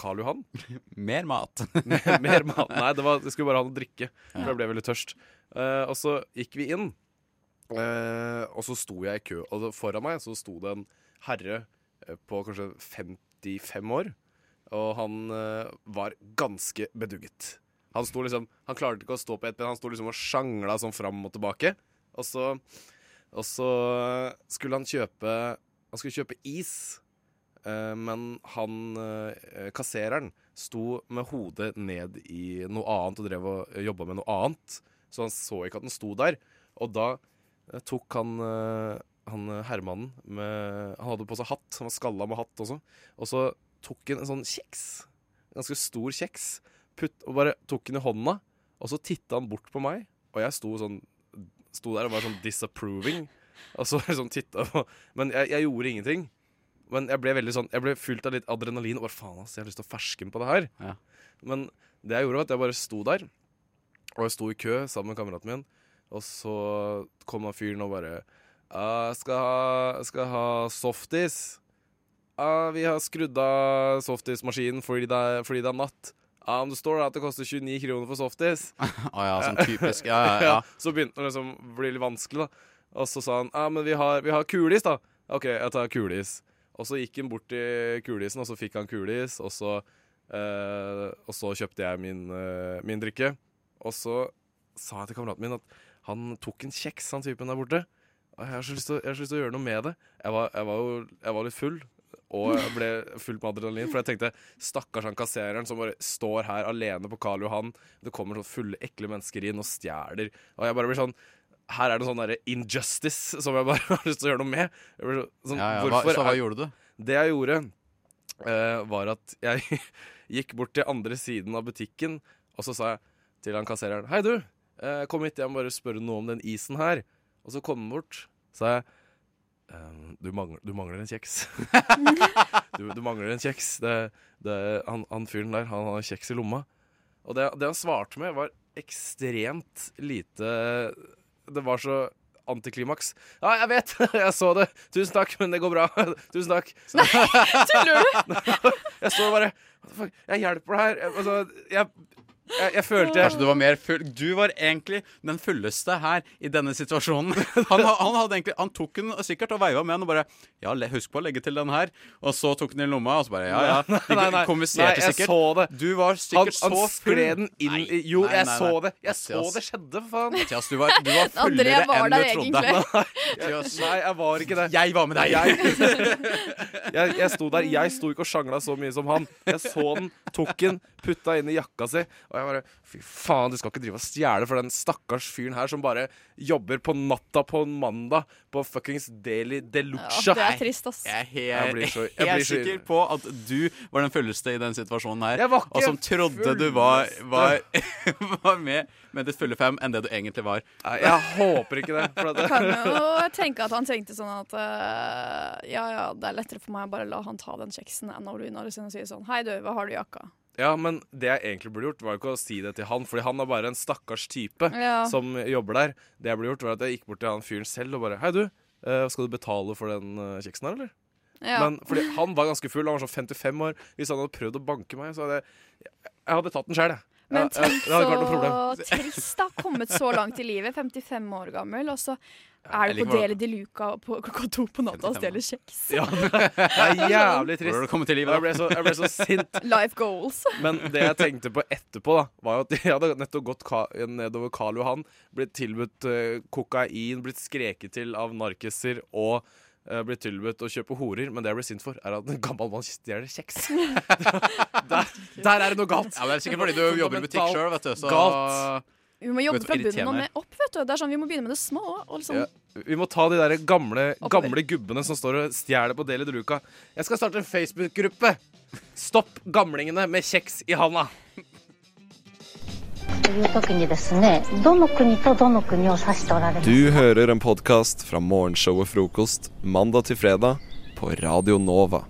S18: Karl Johan.
S17: Mer mat.
S18: mer, mer mat. Nei, det var, jeg skulle bare ha noe drikke.
S17: Ja.
S18: For jeg ble veldig tørst. Eh, og så gikk vi inn, eh, og så sto jeg i kø. Og da- foran meg så sto det en herre eh, på kanskje 55 år, og han eh, var ganske bedugget. Han, sto liksom, han klarte ikke å stå på ett ben, han sto liksom og sjangla sånn fram og tilbake. Og så, og så eh, skulle han kjøpe Han skulle kjøpe is. Eh, men han, eh, kassereren, sto med hodet ned i noe annet og drev og jobba med noe annet. Så han så ikke at den sto der. Og da eh, tok han, eh, han eh, herremannen med Han hadde på seg hatt, han var skalla med hatt også. Og så tok han en sånn kjeks, en ganske stor kjeks, putt, og bare tok den i hånda. Og så titta han bort på meg, og jeg sto sånn Sto der og var sånn disapproving. Og så liksom titta på Men jeg, jeg gjorde ingenting. Men jeg ble veldig sånn Jeg ble fullt av litt adrenalin. Og bare faen, ass, jeg har lyst til å fersken på det her. Men det jeg gjorde, var at jeg bare sto der. Og jeg sto i kø sammen med kameraten min. Og så kom han fyren og bare «Ah, skal ha, skal ha softis. «Ah, vi har skrudd av softismaskinen fordi, det er- fordi det er natt. «Ah, men det står da at det koster 29 kroner for softis.
S17: Å ja, sånn typisk. Ja, ja, ja.
S18: Så begynte det liksom å bli litt vanskelig, da. Og så sa han ja, men vi har, vi har kuleis, da. OK, jeg tar kuleis. Og så gikk han bort til kuleisen, og så fikk han kuleis, og så eh, Og så kjøpte jeg min, eh, min drikke. Og så sa jeg til kameraten min at han tok en kjeks, han typen der borte. Og jeg har så lyst til, å- jeg har så lyst til å gjøre noe med det. Jeg var, jeg var jo jeg var litt full. Og jeg ble fullt med adrenalin, for jeg tenkte stakkars han kassereren som bare står her alene på Karl Johan. Det kommer sånn fulle, ekle mennesker inn og stjeler. Og jeg bare blir sånn Her er det en sånn derre injustice som jeg bare har lyst til å gjøre noe med. Jeg blir så- sånn,
S17: Ja, ja, hva-
S18: hvorfor
S17: så hva
S18: er-
S17: gjorde du?
S18: Det jeg gjorde, eh, var at jeg gikk bort til andre siden av butikken, og så sa jeg til han kassereren Hei, du, eh, kom hit, jeg må bare spørre noe om den isen her. Og så kom han bort, sa jeg Ehm, du, mangler, du mangler en kjeks. du, du mangler en kjeks. Det, det, han, han fyren der, han har kjeks i lomma. Og det, det han svarte med, var ekstremt lite Det var så antiklimaks. Ja, jeg vet! Jeg så det! Tusen takk, men det går bra. Tusen takk. Nei,
S16: tuller
S18: du? Jeg står bare What the fuck? Jeg hjelper deg her. Altså, jeg
S17: Jeg, jeg følte Kanskje du var mer full Du var egentlig den fulleste her i denne situasjonen. Han, ha- han, hadde egentlig, han tok den sikkert og veiva med den og bare Ja, le- husk på å legge til den her. Og så tok den i lomma, og så bare Ja, ja.
S18: Nei,
S17: De
S18: nei, nei. Nei,
S17: konverserte
S18: jeg
S17: sikkert.
S18: så det.
S17: Du var
S18: Han,
S17: sikkert så
S18: han
S17: full.
S18: skred den inn
S17: Nei,
S18: i Jo,
S17: nei,
S18: jeg
S17: nei,
S18: så
S17: nei.
S18: det. Jeg så
S17: Mathias.
S18: det skjedde, for faen.
S17: Mathias, du var, du var
S18: André
S17: fullere
S18: var
S17: enn du
S18: der
S17: trodde.
S18: egentlig.
S17: Mathias,
S18: Nei, jeg var ikke det.
S17: Jeg var med deg.
S18: jeg, jeg sto der. Jeg sto ikke og sjangla så mye som han. Jeg så den, tok den, putta inn i jakka si, og jeg bare Fy faen, du skal ikke drive og stjele for den stakkars fyren her som bare jobber på natta på en mandag på fuckings Daily Deluxa.
S16: Ja, det er trist, ass.
S17: Jeg er helt,
S18: Jeg blir så- jeg
S17: helt
S18: blir så-
S17: sikker på at du var den fulleste i den situasjonen her.
S18: Jeg var ikke
S17: og som trodde du var, var, var med med ditt fulle fem enn det du egentlig var.
S18: jeg håper ikke det. For at
S16: Kan jo tenke at han tenkte sånn at eh, Ja, ja, det er lettere for meg å bare la han ta den kjeksen enn å Runar og si sånn Hei, du, hva har du i jakka?
S18: Ja, men det jeg egentlig burde gjort, var jo ikke å si det til han, fordi han er bare en stakkars type
S16: Ja.
S18: som jobber der. Det jeg burde gjort, var at jeg gikk bort til han fyren selv og bare Hei, du. eh, Skal du betale for den eh, kjeksen her, eller?
S16: Ja.
S18: Men fordi han var ganske full, han var sånn 55 år. Hvis han hadde prøvd å banke meg, så hadde jeg Jeg hadde tatt den sjøl, jeg.
S16: Men
S18: Ja, ja,
S16: tenk
S18: det hadde ikke vært noe
S16: så
S18: problem.
S16: trist, da. Kommet så langt i livet, 55 år gammel, og så
S18: jeg
S16: er du på
S18: liker hvordan-
S16: Deli de Luca på klokka to på natta og stjeler kjeks.
S18: Ja, det er jævlig trist.
S17: Hvordan har du kommet til livet, da?
S18: jeg, ble så, jeg ble så sint.
S16: Life goals.
S18: Men det jeg tenkte på etterpå, da var jo at jeg hadde nettopp gått ka nedover Karl Johan, blitt tilbudt eh, kokain, blitt skreket til av narkiser og eh, blitt tilbudt å kjøpe horer. Men det jeg blir sint for, er at en gammel mann stjeler kjeks. der, der er det noe galt.
S17: Ja, men det er sikkert fordi du jobber i butikk
S18: Fundamentalt
S17: selv, vet du, så-
S18: Galt.
S16: Vi må jobbe
S18: Vet du,
S16: fra bunnen
S18: irriterende.
S16: og med opp, vet du. Det er sånn, Vi må begynne med det små. Og liksom,
S18: Ja. Vi må ta de der gamle, gamle gubbene som står og stjeler på Deli de Luca. Jeg skal starte en Facebook-gruppe. Stopp gamlingene med kjeks i handa.
S6: という時にですねどの国とどの国を指しておられます
S5: Du hører en podkast fra morgenshowet Frokost mandag til fredag på Radio Nova.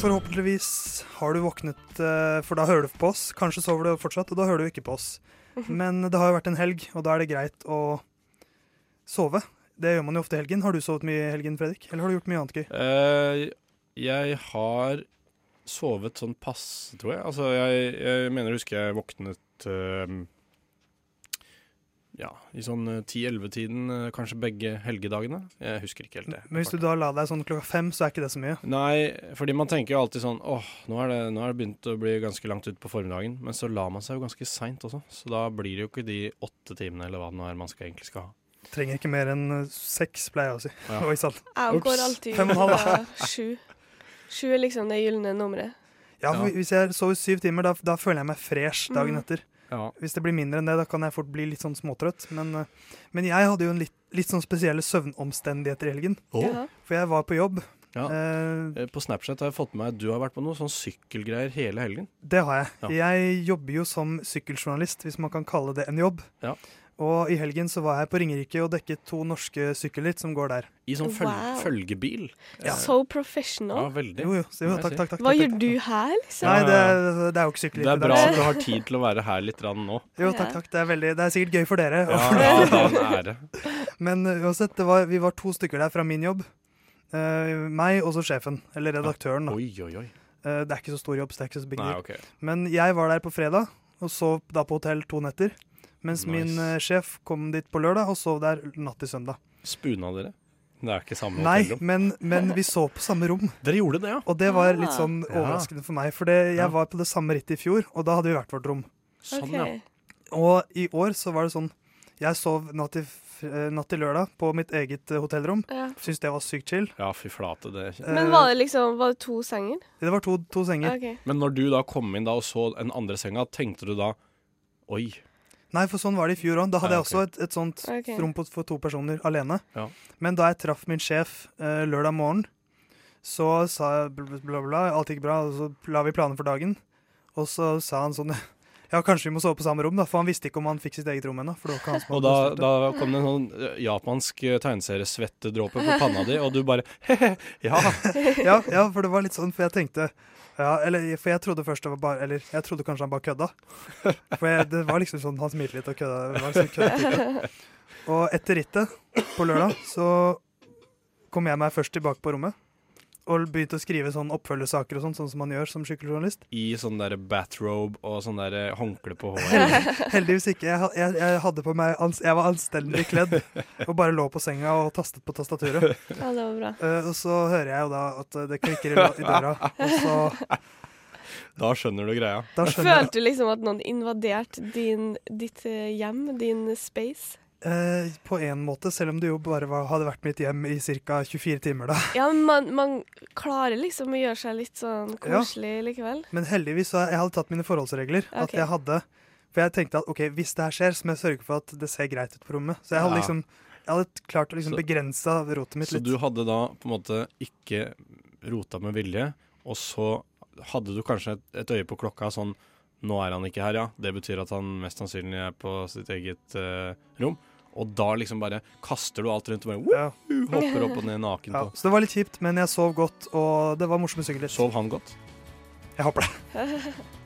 S21: Forhåpentligvis har du våknet, eh, for da hører du på oss. Kanskje sover du fortsatt, og da hører du ikke på oss.
S22: Mhm.
S21: Men det har jo vært en helg, og da er det greit å sove. Det gjør man jo ofte i helgen. Har du sovet mye i helgen, Fredrik? Eller har du gjort mye annet gøy?
S23: Eh, jeg har sovet sånn passe, tror jeg. Altså, jeg, jeg mener jeg husker jeg våknet eh, ja, i sånn eh, 10-11-tiden, eh, kanskje begge helgedagene. Jeg husker ikke helt det.
S21: Men hvis du da la deg sånn klokka fem, så er ikke det så mye.
S23: Nei, fordi man tenker jo alltid sånn åh, nå er det, nå er det begynt å bli ganske langt ut på formiddagen. Men så la man seg jo ganske seint også, så da blir det jo ikke de åtte timene eller hva det nå er man skal, egentlig skal ha.
S21: Trenger ikke mer enn eh, seks, pleier jeg å si.
S23: Ja.
S21: Oi sann.
S22: Jeg går
S21: Ups.
S22: alltid ut
S21: Fem og en halv, da.
S22: på sju. Sju er liksom det gylne nummeret.
S21: Ja, for hvis jeg sover syv timer, da, da føler jeg meg fresh dagen
S22: Mm.
S21: etter.
S23: Ja.
S21: Hvis det blir mindre enn det, da kan jeg fort bli litt sånn småtrøtt. Men, eh, men jeg hadde jo en litt, litt sånn spesielle søvnomstendigheter i helgen.
S23: Å. Jaha.
S21: For jeg var på jobb.
S23: Ja. Eh, på Snapchat har jeg fått med meg at du har vært på noe sånn sykkelgreier hele helgen.
S21: Det har jeg.
S23: Ja.
S21: Jeg jobber jo som sykkeljournalist, hvis man kan kalle det en jobb.
S23: Ja.
S21: Og i helgen så var jeg på Ringerike og dekket to norske sykkelritt som går der.
S23: I sånn føl
S22: Wow.
S23: følgebil.
S22: So professional.
S23: Ja, veldig.
S21: Jo, jo, jo,
S23: Må jeg
S21: takk,
S23: si.
S21: takk, takk,
S22: takk, Hva
S21: takk,
S22: gjør
S21: takk.
S22: du her, liksom?
S21: Nei, det, det er jo ikke
S23: Det
S21: sykkelritt.
S23: er bra at du har tid til å være her litt rann nå.
S21: Jo, takk, takk. Det er, veldig, det er sikkert gøy for dere.
S23: Ja, ja, det er en ære.
S21: Men uh, uansett, det var, vi var to stykker der fra min jobb. Eh, meg og så sjefen, eller redaktøren. Da. Eh, det er ikke så stor jobb, så det er ikke så big
S23: Nei,
S21: deal.
S23: ok.
S21: Men jeg var der på fredag, og sov da på hotell to netter. Mens min
S23: Nice.
S21: eh, sjef kom dit på lørdag og sov der natt til søndag.
S23: Spuna dere? Det er ikke samme
S21: Nei,
S23: hotellrom.
S21: men, men vi så på samme rom.
S23: Dere gjorde det, ja.
S21: Og det var litt sånn
S23: Ja.
S21: overraskende for meg, for det, jeg var på det samme rittet i fjor, og da hadde vi hvert vårt rom.
S23: Sånn, ja. Ok.
S21: Og i år så var det sånn Jeg sov natt til, f- eh, natt til lørdag på mitt eget eh, hotellrom.
S22: Ja.
S21: Syntes det var sykt chill.
S23: Ja, fy flate, det er
S21: eh,
S22: Men var det liksom var det to senger?
S21: Det var to, to senger.
S22: Ok.
S23: Men når du da kom inn da og så den andre senga, tenkte du da Oi.
S21: Nei, for sånn var det i fjor òg. Da hadde
S23: Ja,
S21: jeg også et, et sånt
S22: Ok.
S21: rom på, for to personer alene.
S23: Ah, Ja.
S21: Men da jeg traff min sjef eh, lørdag morgen, så sa jeg bla, bla, bla, bla, alt gikk bra, og så la vi planer for dagen. Og så sa han sånn Ja, kanskje vi må sove på samme rom, da, for han visste ikke om han fikk sitt eget rom ennå. For det var ikke han som
S23: Og
S21: hadde
S23: da,
S21: bestilt
S23: da
S21: det.
S23: kom det en sånn eh, japansk eh, tegneseriesvettedråpe på panna di, og du bare he-he, ja.
S21: ja, ja, for det var litt sånn, for jeg tenkte ja, eller, For jeg trodde først det var bare Eller jeg trodde kanskje han bare kødda. For jeg, det var liksom sånn han smilte litt og kødda. det Var liksom køddetype. og etter rittet på lørdag så kom jeg meg først tilbake på rommet. og begynt å skrive sånn oppfølgersaker og sånn, sånn som man gjør som sykkeljournalist?
S23: I sånn der bathrobe og sånn der håndkle på håret.
S21: Hel- Heldigvis ikke. Jeg, ha- jeg, jeg hadde på meg ans Jeg var anstendig kledd og bare lå på senga og tastet på tastaturet.
S22: Ja, det var bra.
S21: Eh, og så hører jeg jo da at eh, det klikker i, lå- i døra, og så
S23: Da skjønner du greia.
S21: Da skjønner jeg
S22: Følte du liksom at noen invaderte din, ditt eh, hjem, din space?
S21: Eh, på en måte, selv om det jo bare var, hadde vært mitt hjem i ca. 24 timer da.
S22: Ja, men man, man klarer liksom å gjøre seg litt sånn
S21: Ja.
S22: koselig likevel.
S21: Men heldigvis så jeg hadde tatt mine forholdsregler. At
S22: Ok.
S21: jeg hadde, for jeg tenkte at ok, hvis det her skjer, så må jeg sørge for at det ser greit ut på rommet. Så jeg hadde
S23: Ja.
S21: liksom jeg hadde klart å liksom
S23: Så-
S21: begrense rotet mitt
S23: Så
S21: litt.
S23: du hadde da på en måte ikke rota med vilje, og så hadde du kanskje et, et øye på klokka sånn Nå er han ikke her, ja. Det betyr at han mest sannsynlig er på sitt eget eh, rom. Og da liksom bare kaster du alt rundt og bare «Woo!» uh, hopper opp og ned naken
S21: ja,
S23: på.
S21: så det var litt kjipt, men jeg sov godt, og det var morsomt å synge litt.
S23: Sov han godt?
S21: Jeg håper det.